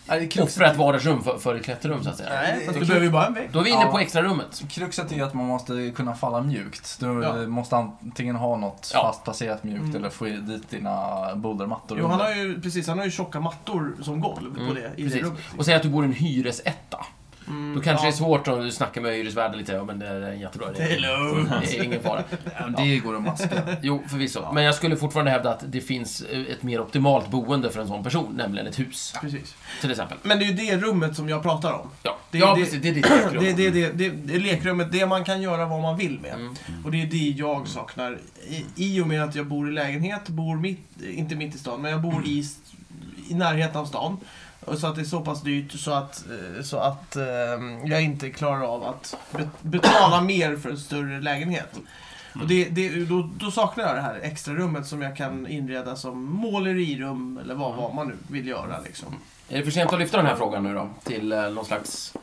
S4: det är kruxet,
S2: offra ett vardagsrum för, för ett klätterrum, så att säga.
S1: Nej, fast
S4: det-
S1: du behöver ju bara en vägg.
S2: Då är vi inne
S4: Ja.
S2: på extrarummet.
S4: kruxet är att man måste kunna falla mjukt. Du
S1: Ja.
S4: måste antingen ha något
S2: Ja.
S4: fast placerat mjukt eller få i dit dina bouldermattor.
S1: Jo, han
S4: under.
S1: har ju, precis, han har ju tjocka mattor som golv på det, i det
S2: Mm, Precis.
S1: rummet.
S2: Och säg att du bor i en hyresetta.
S1: Mm,
S2: Då kanske
S1: ja.
S2: det är svårt att du snackar med hyresvärden lite. Ja, men det är en jättebra idé. Mm,
S1: Hello.
S2: Det är ingen fara.
S4: Ja, men Det går att maska.
S2: Jo, förvisso. Men jag skulle fortfarande hävda att det finns eh, ett mer optimalt boende för en sån person, nämligen ett hus.
S1: Precis.
S2: Till exempel.
S1: Men det är ju det rummet som jag pratar om.
S2: Ja,
S1: Det-
S2: ja
S1: det-
S2: precis. Det är ditt lekrum.
S1: Det, det, det, det, det är lekrummet, det man kan göra vad man vill med.
S2: Mm.
S1: Och det är det jag saknar. I, I och med att jag bor i lägenhet, bor mitt, inte mitt i stan, men jag bor i, s- i närheten av stan. Och Så att det är så pass dyrt så att, eh, så att eh, jag inte klarar av att be- betala mer för en större lägenhet. Och det, det, då, då saknar jag det här extra rummet som jag kan inreda som målerirum eller vad, vad man nu vill göra. Liksom.
S2: Är det för sent att lyfta den här frågan nu då? Till eh, någon slags...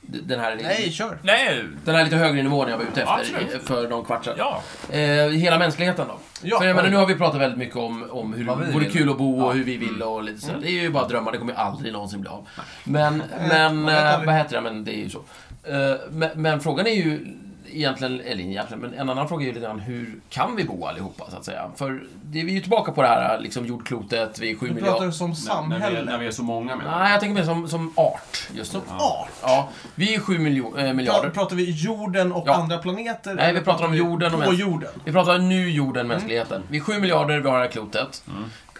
S2: d- Den här,
S1: Nej, kör!
S3: Nej,
S2: den här lite högre nivån jag var ute efter
S3: Absolut.
S2: eh, för någon kvart sedan.
S3: ja.
S2: Eh, hela mänskligheten då.
S1: Ja,
S2: för jag menar,
S1: oj.
S2: nu har vi pratat väldigt mycket om, om hur
S4: Vad vi
S2: det vore
S4: vill.
S2: kul att bo och
S4: Ja.
S2: hur vi vill och lite så. här. Det är ju bara drömmar, det kommer ju aldrig någonsin bli av. Men,
S1: man
S2: men
S1: vet
S2: eh,
S1: aldrig.
S2: vad heter det? Men det är ju så. Eh, men, men frågan är ju egentligen, eller egentligen, men en annan fråga är ju lite grann hur kan vi bo allihopa så att säga? För det är vi ju tillbaka på det här liksom jordklotet, vi är sju
S1: Du pratar
S2: miljarder.
S1: som
S3: När, när, vi,
S1: samhälle.
S3: är- när vi är så många med.
S2: Nej, jag tänker mer som, som art just nu.
S1: Som art.
S2: Ja, vi är sju miljo- eh,
S1: Pratar,
S2: miljarder.
S1: pratar vi jorden och
S2: Ja.
S1: andra planeter?
S2: Nej, vi
S1: eller
S2: pratar om
S1: vi
S2: jorden och
S1: På
S2: mänsk-
S1: jorden.
S2: Vi pratar nu jorden, mänskligheten. Vi är sju miljarder, vi har det här klotet.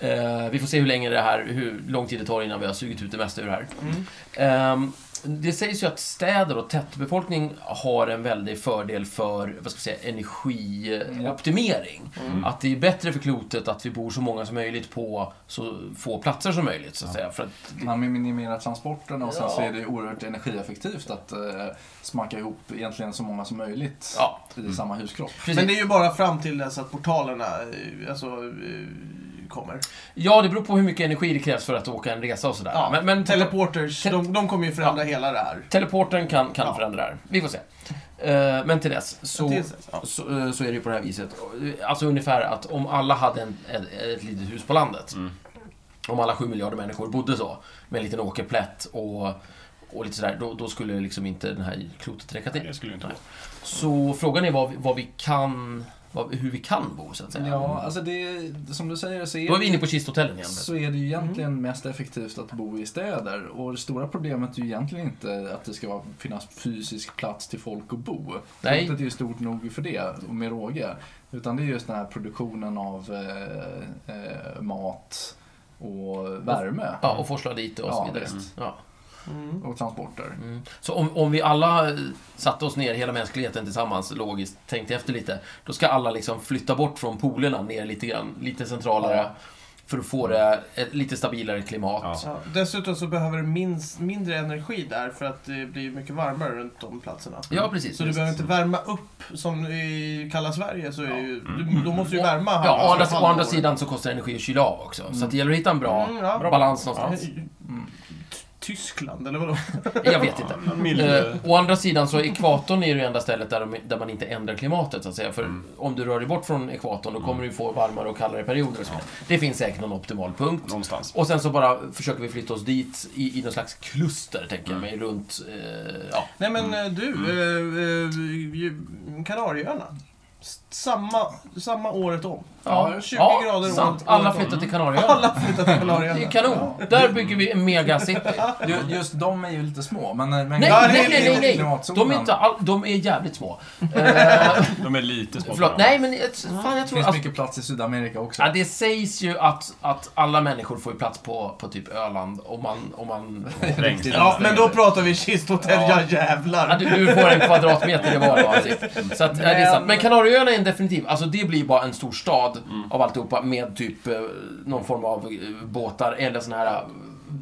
S2: Eh, vi får se hur länge det här, hur lång tid det tar innan vi har sugit ut det mesta ur det här.
S1: Mm.
S2: Ehm, det sägs ju att städer och tätbefolkning har en väldig fördel för, vad ska vi säga, energioptimering. Att det är bättre för klotet att vi bor så många som möjligt på så få platser som möjligt, så att säga. För att,
S4: Man minimerar transporterna och sen
S2: Ja.
S4: så är det ju oerhört energieffektivt att eh, smacka ihop egentligen så många som möjligt
S2: Ja.
S4: i samma huskropp.
S2: precis.
S1: Men det är ju bara fram till dess att portalerna eh, alltså, eh, kommer.
S2: Ja, det beror på hur mycket energi det krävs för att åka en resa och sådär.
S1: Ja,
S2: Men, men
S1: Teleporters,
S2: Te-
S1: de, de kommer ju förändra hela det här.
S2: Teleporten kan, kan
S1: Ja.
S2: förändra det här. Vi får se. Eh, Men till dess så,
S1: Till dess, ja.
S2: så, eh, så är det ju på det här viset. Alltså ungefär att om alla hade en, ett, ett litet hus på landet. Om alla sju miljarder människor bodde så. Med en liten åkerplätt och, och lite sådär. Då, då skulle liksom inte den här klotet räcka till.
S3: Det skulle ju inte gå.
S2: Så frågan är vad, vi- vad vi kan, vad, hur vi kan bo så att säga.
S4: Ja, alltså det som du säger så är,
S2: Då är vi inne
S4: det,
S2: på kisthotellen igen.
S4: så är det ju egentligen mest effektivt att bo i städer. Och det stora problemet är ju egentligen inte att det ska vara- finnas fysisk plats till folk att bo.
S2: Nej.
S4: Klotet är ju stort nog för det, och med råge. Utan det är just den här produktionen av eh, eh, mat och värme
S2: Ja, och forsla dit och så
S4: Ja,
S2: vidare.
S4: visst.
S2: Ja.
S4: och transporter.
S2: Mm. Så om, om vi alla eh, satte oss ner, hela mänskligheten tillsammans, logiskt, tänkte efter lite, då ska alla liksom flytta bort från polerna ner lite grann, lite centralare,
S4: Ja.
S2: för att få det ett lite stabilare klimat.
S3: Ja.
S1: Ja. Dessutom så behöver det minst, mindre energi där för att det blir mycket varmare runt de platserna.
S2: Ja, precis.
S1: Så du
S2: visst.
S1: behöver inte värma upp som i kalla Sverige. Så är ju, du, då måste du ju värma här
S2: Mm. Ja, å
S1: i
S2: andra, å
S1: halvår.
S2: andra sidan så kostar det energi att kyla av också. Så att det gäller att hitta en bra,
S1: Mm, ja.
S2: bra balans någonstans. Mm.
S1: Tyskland, eller vadå?
S2: Jag vet inte.
S3: Ja, mild-
S2: Eh, å andra sidan så ekvatorn är ju det enda stället där, de, där man inte ändrar klimatet så att säga. För
S1: Mm.
S2: om du rör dig bort från ekvatorn då kommer du få varmare och kallare perioder. Och så. vidare. Det finns säkert någon optimal punkt.
S3: Någonstans.
S2: Och sen så bara försöker vi flytta oss dit i, i någon slags kluster, tänker jag mig, runt... Eh, ja.
S1: Nej men eh, du, eh, eh, ju- Kanarieöarna. Samma, samma året om.
S4: Ja,
S1: 20 grader
S2: sant.
S1: året-
S2: Alla
S1: året om.
S2: flyttar till Kanarieöarna.
S1: Alla flyttar till
S2: Det
S1: Kanarieöarna.
S2: är kanon. Där bygger vi en megacity.
S4: Ju- Just de är ju lite små, men... eh, men
S2: Nej,
S1: Ja, det är
S2: nej, nej,
S1: lite
S2: nej, nej.
S4: klimatzonen.
S2: De är, inte all, de är jävligt små. Eh,
S3: De är lite små.
S2: förlåt, nej men ett- fan, jag
S4: Det
S2: tror
S4: finns
S2: att...
S4: mycket plats i Sydamerika också.
S2: Ja, det sägs ju att, att alla människor får ju plats på, på typ Öland om man... Om man
S3: Regn.
S1: Ja, men då pratar vi kisthotell,
S2: Ja.
S1: ja
S2: ja,
S1: jävlar.
S2: du, du får en kvadratmeter i var av
S1: Mm.
S2: sitt. Så att, men... det är sant. Men Kanarieöarna är en definitiv... Alltså det blir bara en stor stad
S1: Mm.
S2: av alltihopa med typ eh, någon form av eh, båtar eller såna här eh,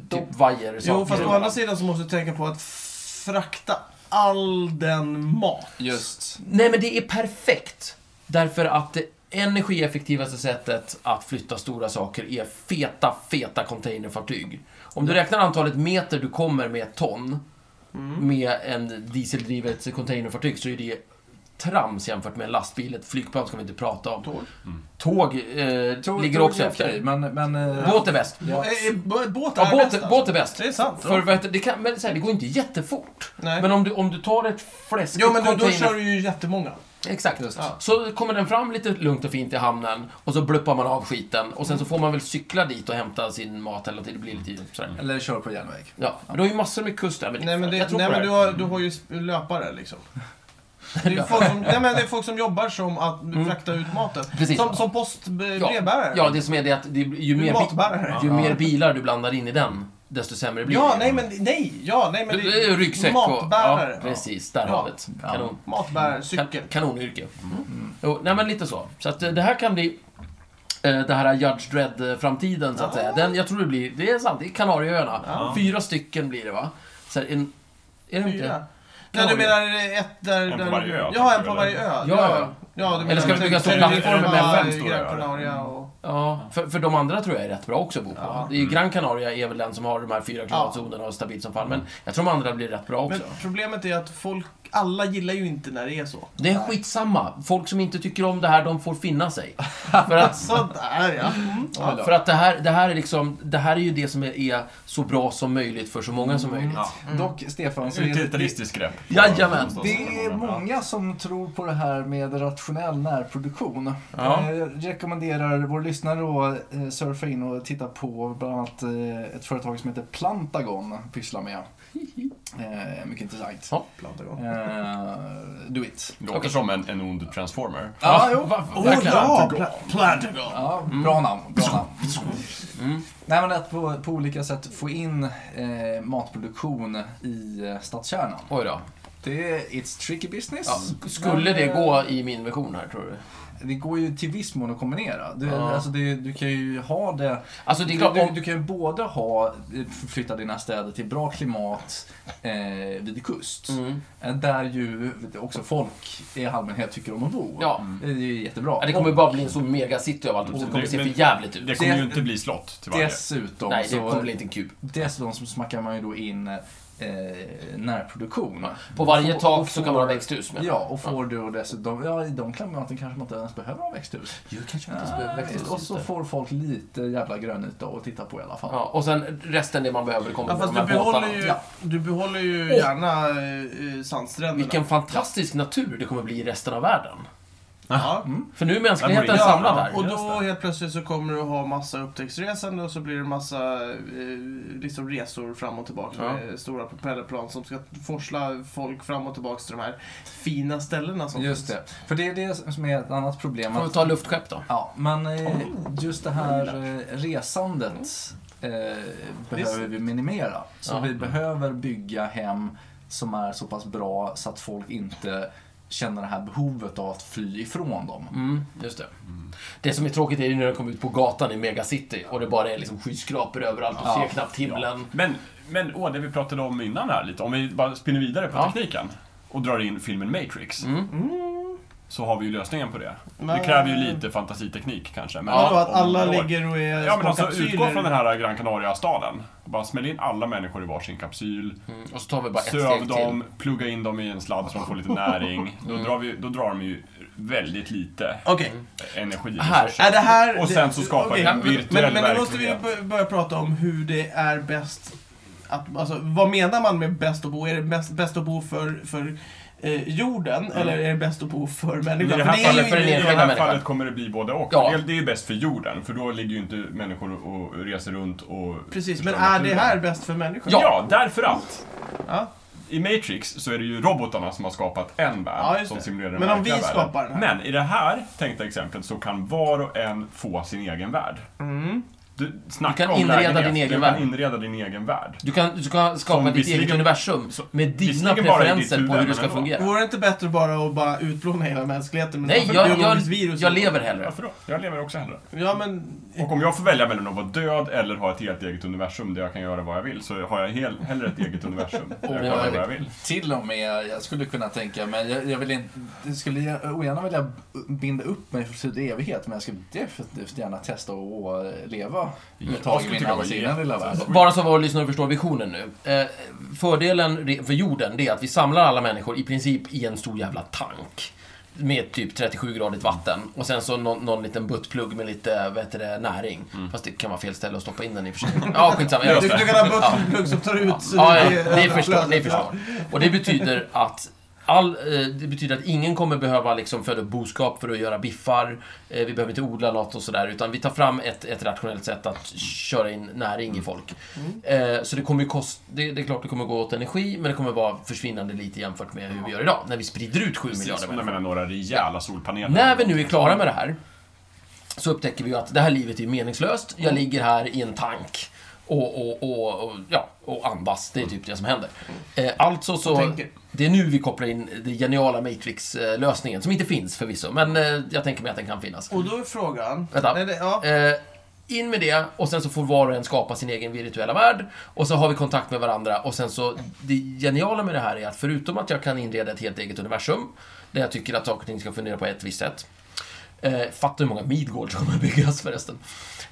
S2: typ vajer.
S1: Jo,
S2: saker.
S1: fast å andra sidan så måste du tänka på att frakta all den mat.
S4: Just.
S2: Nej, men det är perfekt. Därför att det energieffektivaste sättet att flytta stora saker är feta, feta containerfartyg. Om du räknar antalet meter du kommer med ett ton
S1: Mm.
S2: med en dieseldrivet containerfartyg så är det trams jämfört med en lastbil. Ett flygplan ska vi inte prata om.
S1: Tåg.
S2: Tåg eh,
S4: Tror-
S2: ligger
S4: tror
S2: också
S4: det är
S2: efter.
S4: okej, Men, men... eh,
S2: Båt är bäst.
S1: Ja. eh, Båt
S2: Ja,
S1: är
S2: båt,
S1: bäst, alltså.
S2: båt är bäst.
S1: Det är sant.
S2: För vet du, det, kan, men, så här, det går inte jättefort.
S1: Nej.
S2: Men om du, om du tar ett fläskigt
S1: Jo, men då, då
S2: container-
S1: kör du ju jättemånga.
S2: Exakt.
S4: Just.
S1: Ja.
S2: Så kommer den fram lite lugnt och fint i hamnen och så bluppar man av skiten och sen så får man väl cykla dit och hämta sin mat eller till det blir lite sådär.
S4: Eller kör på järnväg.
S2: Ja, men du har ju massor med kust där. Men
S1: Nej, men,
S2: jag
S1: det,
S2: tror
S1: nej,
S2: på
S1: men
S2: det
S1: du,
S2: här.
S1: har, du har ju sp- löpare liksom. Det är, ju folk som, nej, men det är folk som jobbar som att frakta ut maten.
S2: Mm. Precis.
S1: Som, eh, som postbrevbärare.
S2: Ja, det som är det att det, ju, mer, bi-
S1: Matbärare.
S2: ju mer bilar du blandar in i den, desto sämre blir
S1: Ja,
S2: det.
S1: nej men nej, ja, nej men
S2: Det är Ryggsäck och...
S1: matbärare.
S2: Ja, precis. Där har vi det.
S4: Ja.
S2: Kanon.
S1: Matbärare,
S2: Kan,
S1: cykel.
S2: kanonyrke.
S1: Mm.
S2: Mm. Jo, nej men lite så. Så att eh, det här kan bli eh, det här Judge Dredd-framtiden så att
S1: Ah.
S2: säga. Den, jag tror det blir, det är sant, det är Kanarieöarna.
S1: Ja.
S2: Fyra stycken blir det va? Så här, en, är det inte?
S1: Fyra. Nej, du menar ett där...
S3: En på
S1: där,
S3: varje ö,
S1: Ja, en
S3: typ,
S1: på varje ö. Ja,
S2: ja.
S1: ja du
S2: Eller ska vi bygga stora plattformar
S1: med
S3: mellan
S1: fem
S3: stora öar?
S1: Canaria
S2: Mm.
S1: och...
S2: Ja, för, för de andra tror jag är rätt bra också att bo på.
S1: Ja. Mm.
S2: Det är ju Gran Canaria är väl den som har de här fyra klimatzonerna och stabilt som fan. Men jag tror de andra blir rätt bra också.
S1: Mm. Men problemet är att folk, alla gillar ju inte när det är så.
S2: Det är skitsamma. Folk som inte tycker om det här, de får finna sig. För att
S1: Sådär ja. Mm.
S4: Oj då.
S2: För att det här, det här är liksom, det här är ju det som är, är så bra som möjligt för så många
S1: Mm.
S2: som möjligt.
S3: Ja.
S4: Dock, Stefan, så är det,
S3: Utilitaristiskt grepp.
S2: Jajamän.
S4: det är många som tror på det här med rationell närproduktion.
S2: Ja.
S4: Eh, Jag rekommenderar vår lyssnare att eh, surfa in och titta på bland annat eh, ett företag som heter Plantagon pysslar med. Eh, Mycket intressant.
S2: Ja.
S4: Eh, Do it.
S3: Låter
S2: Okej.
S3: som en, en ond transformer.
S4: Ja, jo.
S2: va-
S1: Åh
S2: verkligen.
S1: ja! Pla- Plantagon.
S4: Ja,
S2: Mm.
S4: bra namn. Bra namn. Nej, men att på, på olika sätt få in eh, matproduktion i eh, stadskärnan.
S2: Oj då.
S4: Det är it's tricky business.
S2: Ja, skulle
S4: Men,
S2: det
S4: eh,
S2: gå i min version här, tror du?
S4: Det går ju till viss mån att kombinera. Du,
S2: Ja.
S4: alltså, det, du kan ju ha det...
S2: Alltså, det är
S4: du,
S2: klart,
S4: du,
S2: om-
S4: du kan ju både ha, flytta dina städer till bra klimat eh, vid kust.
S2: Mm.
S4: eh, Där ju också folk i allmänhet tycker om att bo. Eh,
S2: Ja.
S4: Det är ju jättebra.
S2: Ja, det kommer bara bli en sån megacity av allt och det kommer se för jävligt
S3: Det
S2: ut.
S3: kommer
S4: Det-
S3: ju inte bli slott till
S4: Och
S3: varje.
S4: dessutom
S2: Nej, det
S4: så-
S2: kommer bli inte en kub.
S4: Dessutom så smackar man ju då in eh, närproduktion.
S2: På varje
S4: Och- och
S2: tak så kan man ha
S4: får-
S2: växthus med.
S4: Ja, och får du dessutom, ja i de klimaten kanske man inte ens behöver ha växthus.
S2: Jo, kanske man inte ens
S4: Ja,
S2: behöver växthus.
S4: och så
S2: just det.
S4: får folk lite jävla grönyta att titta på i alla fall.
S2: Ja, och sen resten det man behöver kommer
S1: Ja, fast
S2: från de
S1: du
S2: här
S1: behåller
S2: båtarna.
S1: ju,
S4: Ja.
S1: du behåller ju
S2: Åh.
S1: gärna eh, eh, sandstränderna.
S2: Vilken fantastisk natur det kommer bli i resten av världen.
S1: Ja.
S2: För nu är mänskligheten
S3: Ja,
S2: samlad
S3: ja.
S2: där.
S1: Och
S3: Just
S1: då
S3: det.
S1: helt plötsligt så kommer du ha massa upptäcktsresande och så blir det massa eh, liksom resor fram och tillbaka
S2: Ja.
S1: med stora propellerplan som ska forsla folk fram och tillbaka till de här fina ställena som
S4: Just det. För det är det som är ett annat problem.
S2: Får vi
S4: Att,
S2: ta luftskepp då?
S4: ja, men eh, just det här eh, resandet eh, behöver vi minimera. Så
S2: Ja.
S4: vi behöver bygga hem som är så pass bra så att folk inte känner det här behovet av att fly ifrån dem.
S2: Mm, just det. Det som är tråkigt är ju när de kommer ut på gatan i megacity och det bara är liksom skyskrapor överallt och
S4: Ja.
S2: ser knappt himlen.
S3: Men, men åh, det vi pratade om innan här lite, om vi bara spinner vidare på
S2: Ja. Mm.
S3: tekniken och drar in filmen Matrix. Så har vi ju lösningen på det.
S1: Men-
S3: Det kräver ju lite fantasiteknik kanske. Men
S1: Ja, då att
S3: om
S1: alla
S3: några år-
S1: ligger och är
S3: Ja men
S1: små
S3: alltså utgå
S1: kapsyler.
S3: från den här Gran Canaria-staden. Bara smäll in alla människor i varsin kapsyl.
S2: Mm, Och så tar vi bara ett
S3: Söv
S2: steg till. Mm.
S3: dem, plugga in dem i en sladd så de får lite näring. Då, drar, vi, då drar de ju väldigt lite
S1: Okej,
S3: energi.
S2: Här.
S1: är det här...
S3: Och sen så skapar
S1: okej.
S3: vi en virtuell
S1: men, men nu måste vi ju
S3: verklighet.
S1: bör- börja prata om hur det är bäst att, alltså, vad menar man med bäst att bo? Är det bäst, bäst att bo för, för eh, jorden, eller är det bäst att bo för människan?
S3: I det
S1: För
S3: här,
S2: det är ju
S3: fallet,
S2: för den
S3: i det
S2: enskilda
S3: här
S2: människan.
S3: fallet kommer det bli både och.
S2: Ja.
S3: Det är- Det är ju bäst för jorden, för då ligger ju inte människor och och reser runt och...
S1: Precis, men
S3: förstör
S1: är det
S3: naturen.
S1: här bäst för människan?
S3: Ja, därför att
S1: Ja,
S3: i Matrix så är det ju robotarna som har skapat en värld
S1: ja just
S3: som
S1: det.
S3: simulerar den
S1: Men om vi
S3: verkliga världen.
S1: skapar den här.
S3: Men i det här tänkta exemplet så kan var och en få sin egen värld.
S1: Mm.
S3: Du, snacka
S2: Du kan
S3: om
S2: inreda
S3: lägenhet.
S2: din egen
S3: du
S2: värld.
S3: kan inreda din egen värld.
S2: Du kan, du kan skapa
S3: Som
S2: ditt eget
S3: visserligen-
S2: universum
S3: som-
S2: med dina
S3: visserligen bara i ditt
S2: preferenser på
S3: huvud,
S2: hur det
S3: men
S2: ska
S3: ändå.
S2: fungera.
S1: Vore det inte bättre bara att bara utplåna hela mänskligheten? Men
S2: Nej,
S1: varför
S2: jag, jag,
S1: biologiskt virus?
S2: jag lever hellre.
S3: Varför då? Jag lever också hellre.
S1: Ja, men...
S3: Och om jag får välja mellan att vara död eller ha ett helt eget universum där jag kan göra vad jag vill så har jag hel, hellre ett eget universum där jag kan
S2: Ja,
S3: göra
S2: jag
S3: vad jag vill.
S4: Till och med, jag skulle kunna tänka men jag, jag vill inte, jag skulle gärna- ogärna vilja binda upp mig för tid och evighet men jag skulle definitivt gärna testa att leva ett tag i
S3: skulle
S4: min
S3: tycka det var
S4: allsidiga lilla värld.
S2: Alltså, Bara så våra lyssnare förstår visionen nu. Eh, fördelen re- för jorden, det är att vi samlar alla människor i princip i en stor jävla tank. Med typ 37-gradigt vatten. Och sen så någon, någon liten buttplugg med lite, vad heter det, näring. Fast det kan vara fel ställe att stoppa in den i och för sig. Ja, skitsamma. Jag
S1: Du, du kan ha buttplug som tar ut...
S2: Ja, ja,
S1: det-
S2: ni förstår, ni
S1: Ja.
S2: förstår. Och det betyder att All, eh, det betyder att ingen kommer behöva liksom föda upp boskap för att göra biffar. Eh, vi behöver inte odla något och sådär. Utan vi tar fram ett, ett rationellt sätt att köra in näring i
S1: Mm.
S2: folk. Eh, så det kommer ju kost, det, det är klart det kommer gå åt energi, men det kommer vara försvinnande lite jämfört med hur vi gör idag. När vi sprider ut 7 miljarder
S3: Precis, men jag
S2: människor.
S3: menar några rejäla solpaneler.
S2: När vi nu är klara med det här så upptäcker vi ju att det här livet är meningslöst. Jag ligger här i en tank och, och, och, och, ja, och andas. Det är typ det som händer. Eh, Alltså så...
S1: tänker.
S2: Det är nu vi kopplar in den geniala Matrix-lösningen, som inte finns förvisso, men eh, jag tänker mig att den kan finnas.
S1: Och då är frågan...
S2: Vänta.
S1: Nej, det, ja.
S2: Eh, in med det och sen så får var och en skapa sin egen virtuella värld och så har vi kontakt med varandra och sen så det geniala med det här är att förutom att jag kan inreda ett helt eget universum där jag tycker att saker och ting ska fundera på ett visst sätt. Eh, fattar hur många Midgårds som kommer byggas förresten.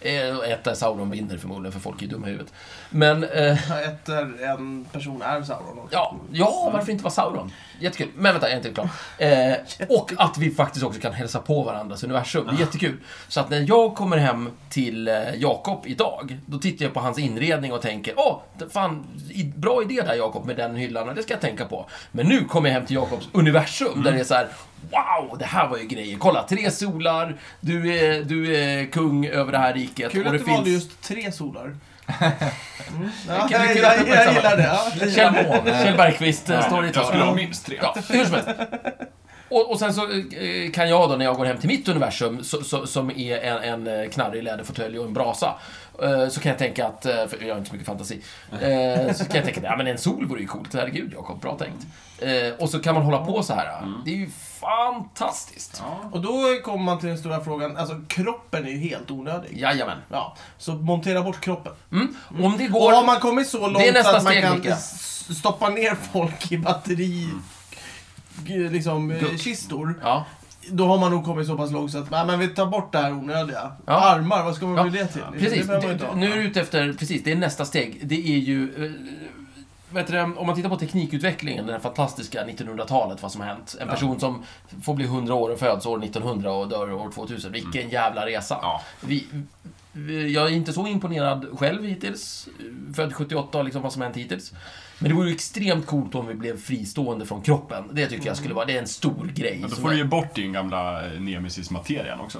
S2: Eh, och ett där Sauron vinner förmodligen för folk är dumma i huvudet. Men eh,
S1: Ett är en person är Sauron också.
S2: Ja, ja varför inte vara Sauron? Jättekul. Men vänta, jag är inte klar. Eh, och att vi faktiskt också kan hälsa på varandras universum.
S1: Ah.
S2: Det är jättekul. Så att när jag kommer hem till eh, Jakob idag, då tittar jag på hans inredning och tänker Åh, det- fan, i- bra idé där Jakob med den hyllan, det ska jag tänka på. Men nu kommer jag hem till Jakobs universum
S1: Mm.
S2: där det är så här Wow, det här var ju grejer. Kolla, tre solar, du är, du är kung över det här riket.
S1: Kul
S2: och
S1: att
S2: det
S1: du valde just tre solar. Mm. Ja,
S2: Kan
S1: jag,
S2: du-
S1: jag, jag
S2: uppmärksamma?
S1: gillar det. Ja, jag
S2: Kjell
S1: gillar det.
S2: Mån, Kjell Bergqvist, eh, står i ett
S3: Jag skulle
S2: hörn.
S3: ha minst tre.
S2: Ja, hur som helst. Och, och sen så eh, kan jag då, när jag går hem till mitt universum, så, så, som är en, en eh, knarrig läderfåtölj och en brasa, eh, så kan jag tänka att, eh, för jag har inte så mycket fantasi, eh, så kan jag tänka att ja, men en sol vore ju coolt, herregud Jakob, bra tänkt. Eh, Och så kan man hålla på så här. eh. Det är ju fantastiskt.
S1: Och då kommer man till den stora frågan, alltså kroppen är ju helt onödig.
S2: Jajamän.
S1: Ja, så montera bort kroppen.
S2: Mm. Om det
S1: Och
S2: går...
S1: har man kommit så långt
S2: nästa
S1: att man
S2: steg, Mm.
S1: kan
S2: Mika.
S1: s- stoppa ner folk i batteri... g- Liksom, eh,
S2: Guck.
S1: kistor.
S2: Ja.
S1: Då har man nog kommit så pass långt så att nej, men vi tar bort det här onödiga.
S2: Ja.
S1: Armar, vad ska man
S2: Ja.
S1: med det till?
S2: Precis,
S1: Det behöver man inte
S2: det,
S1: ha.
S2: nu är du ute efter, precis, det är nästa steg. Det är ju, eh, vet du, det, om man tittar på teknikutvecklingen, det här fantastiska 1900-talet, vad som har hänt. En person som får bli 100 år och föds år 1900 och dör år 2000. Vilken
S1: Mm.
S2: jävla resa.
S3: Ja.
S2: Vi, vi- jag är inte så imponerad själv hittills. Född 78 och liksom vad som hänt hittills. Men det vore ju extremt coolt om vi blev fristående från kroppen. Det tycker
S1: Mm.
S2: jag skulle vara, det är en stor grej.
S3: Men då
S2: som
S3: får du
S2: är-
S3: ju bort din gamla eh, nemesis-materian också.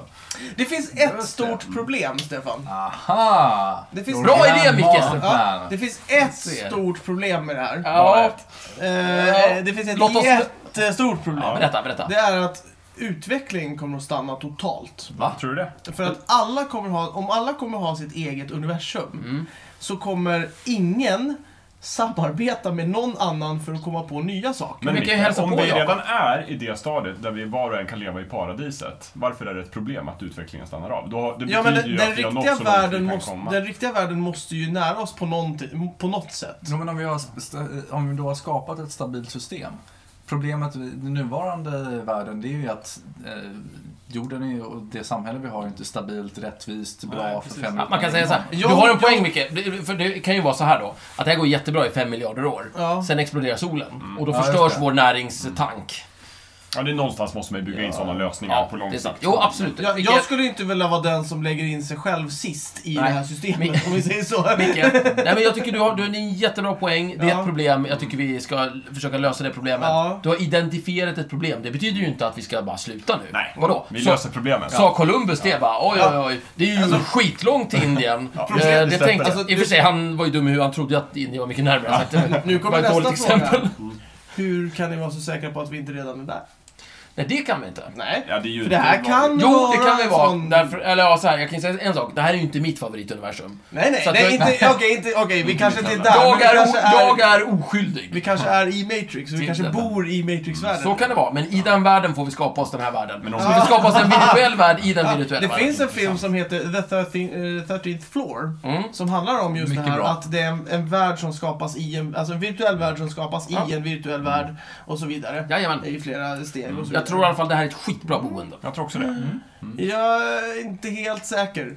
S1: Det finns ett stort problem, Stefan.
S4: Aha!
S1: Det finns-
S2: Bra idé, Micke!
S1: Ja,
S4: Ja,
S1: det finns ett
S2: Mm. ser.
S1: stort problem med det här.
S2: Ja.
S1: Eh, det finns ett
S2: Låt oss-
S1: jättestort problem.
S2: Ja, berätta, berätta.
S1: Det är att utvecklingen kommer att stanna totalt.
S2: Va?
S3: Tror du det?
S1: För att alla kommer ha, om alla kommer ha sitt eget universum
S3: Mm.
S1: så kommer ingen samarbeta med någon annan för att komma på nya saker.
S2: Men vi kan ju
S3: Mikael,
S2: hälsa
S3: om
S2: på
S3: vi
S2: Jakob.
S3: redan är i det stadiet där vi var och en kan leva i paradiset, varför är det ett problem att utvecklingen stannar av? Då, det
S1: Ja, men
S3: betyder
S1: den, den,
S3: ju att vi har nått
S1: riktiga
S3: så långt vi
S1: världen
S3: kan
S1: måste,
S3: komma.
S1: den riktiga världen måste ju nära oss på, någonting, på något sätt.
S4: men om vi, har, st- om vi då har skapat ett stabilt system. Problemet i den nuvarande världen det är ju att eh, jorden är, och det samhälle vi har är inte stabilt, rättvist, bra
S3: Nej,
S4: för
S3: precis.
S4: fem
S2: Ja, man kan säga så här.
S1: Jo,
S2: du har en
S1: jo.
S2: poäng Micke, Det- för det kan ju vara så här då, att det här går jättebra i 5 miljarder år.
S1: Ja.
S2: Sen exploderar solen och då
S4: Ja, just
S2: förstörs
S4: det.
S2: vår näringstank.
S3: Mm. Ja, det är någonstans måste man ju bygga in sådana lösningar på lång
S2: det är
S3: sikt.
S2: sant. Jo, absolut.
S1: Jag,
S2: Micke-
S1: jag skulle inte vilja vara den som lägger in sig själv sist i
S2: Nej.
S1: det här systemet,
S2: Mi-
S1: om vi säger så.
S2: Micke, nej men jag tycker du har, du har en jättebra poäng. Det är
S1: Ja.
S2: ett problem. Jag tycker vi ska försöka lösa det problemet.
S1: Ja.
S2: Du har identifierat ett problem. Det betyder ju inte att vi ska bara sluta nu.
S3: Nej,
S2: Vadå?
S3: vi
S2: Så-
S3: löser problemet.
S2: Sa Columbus det bara, oj oj oj, det är ju
S1: Alltså-
S2: skitlångt till Indien. Eh,
S3: Problemet
S2: det
S3: släpper
S2: tänkte,
S1: det.
S2: I och för sig, han var ju dum i hur han trodde att Indien var mycket närmare. Så att eh, det
S1: Nu
S2: var
S1: kommer
S2: ett dåligt
S1: nästa
S2: exempel.
S1: fråga. Hur kan ni vara så säkra på att vi inte redan är där?
S2: Nej, det kan vi inte.
S1: Nej.
S3: Ja, det är ju
S1: För det här kan
S2: Jo, det kan vi
S1: en
S2: vara.
S1: sån-
S2: Därför, eller ja, så här, jag kan säga en sak. Det här är ju inte mitt favorituniversum.
S1: Nej, nej,
S2: Så att
S1: nej
S2: jag-
S1: inte, okej, inte, okej, vi kanske inte är där. men
S2: Jag
S1: vi
S2: är, o-
S1: kanske
S2: jag är oskyldig.
S1: Vi kanske är i Matrix, vi
S2: Till
S1: kanske
S2: den.
S1: bor i Matrix-världen.
S2: Så kan det vara, men i den världen får vi skapa oss den här världen.
S3: Men om-
S2: Så vi skapar oss en virtuell värld i den virtuella
S1: Det
S2: världen.
S1: finns en film som heter The 13th, eh, 13th Floor.
S2: Mm.
S1: Som handlar om just
S4: Mycket
S1: det här
S4: bra.
S1: att det är en, en värld som skapas i en, alltså en virtuell värld som skapas
S2: Ja.
S1: i en virtuell värld och så vidare.
S2: Jajamän.
S1: I flera steg och så vidare.
S2: Jag tror i alla fall det här är ett skitbra boende.
S3: Jag tror också det. Mm.
S1: Jag är inte helt säker.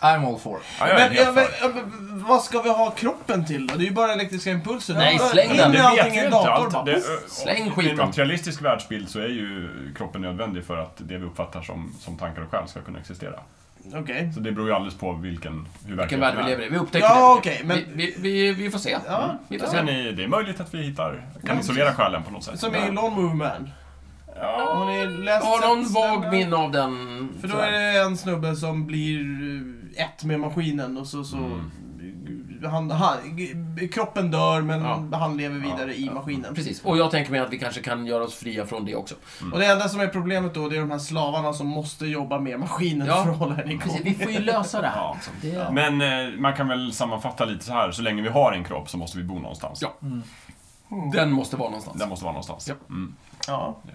S4: I'm all for.
S3: Ja, jag är
S1: Men,
S3: helt
S1: jag,
S3: för.
S1: men, men vad ska vi ha kroppen till då? Det är ju bara elektriska impulser.
S2: Nej,
S1: Bara
S2: släng
S1: in
S2: den.
S1: med
S3: Det
S1: allting
S3: vet
S1: i
S3: vi
S1: en
S3: inte.
S1: dator,
S3: Allt,
S1: bara.
S3: det,
S2: Släng
S3: I
S2: skiten.
S3: en materialistisk världsbild så är ju kroppen nödvändig för att det vi uppfattar som, som tankar och själ ska kunna existera.
S1: Okej.
S3: Så det beror ju alldeles på vilken, hur
S2: Vilken värld vi
S3: verkligheten
S2: lever
S3: är.
S2: i. Vi upptäcker
S1: Ja,
S2: det.
S1: okej, men-
S2: vi, vi, vi, vi får se.
S1: Ja.
S2: Vi får se.
S3: Sen är det är möjligt att vi hittar, kan isolera själen på något sätt.
S1: Som i Lawn Mover Man.
S3: Ja.
S1: Har ni
S2: Jag
S1: läst
S2: har någon
S1: Sex
S2: vag
S1: Lemon?
S2: minne av den.
S1: För då
S2: tror jag.
S1: är det en snubbe som blir eh, ett med maskinen och så... så
S3: Mm.
S1: han, han, g- kroppen dör men
S2: Ja.
S1: han lever vidare i maskinen.
S2: Precis. Och jag tänker mig att vi kanske kan göra oss fria från det också.
S1: Och det enda som är problemet då det är de här slavarna som måste jobba med maskinen
S2: Ja.
S1: för att hålla den
S2: Precis.
S1: igång.
S2: Vi får ju lösa det här.
S3: Ja.
S2: liksom. Det,
S3: Men eh, man kan väl sammanfatta lite så här, så länge vi har en kropp så måste vi bo någonstans.
S2: Ja. Den måste vara någonstans.
S3: Den måste vara någonstans.
S2: Ja.
S3: Mm.
S1: Ja.
S3: Ja.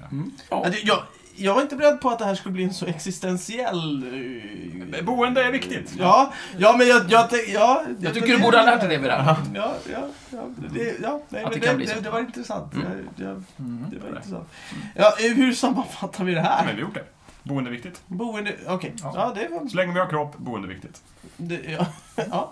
S2: Ja.
S1: Alltså, Jag, jag var inte beredd på att det här skulle bli en så existentiell... eh,
S3: Men Boende är viktigt.
S1: Ja, ja men jag... jag, tänk- ja,
S2: Jag tycker du borde ha lärt dig det vid det här.
S1: Ja, ja, ja, det, ja nej,
S2: Att
S1: men
S2: det kan
S1: det,
S2: bli
S1: det,
S2: så.
S1: det var intressant. Jag, jag, det var
S3: Mm.
S1: intressant. Ja, eh, hur sammanfattar vi det
S3: Ja,
S1: här?
S3: Men vi har gjort det. Boende är viktigt.
S1: Boende, okej. Ja.
S4: Ja.
S1: det var...
S3: Så länge vi har kropp, boende är viktigt.
S1: Det, ja. ja.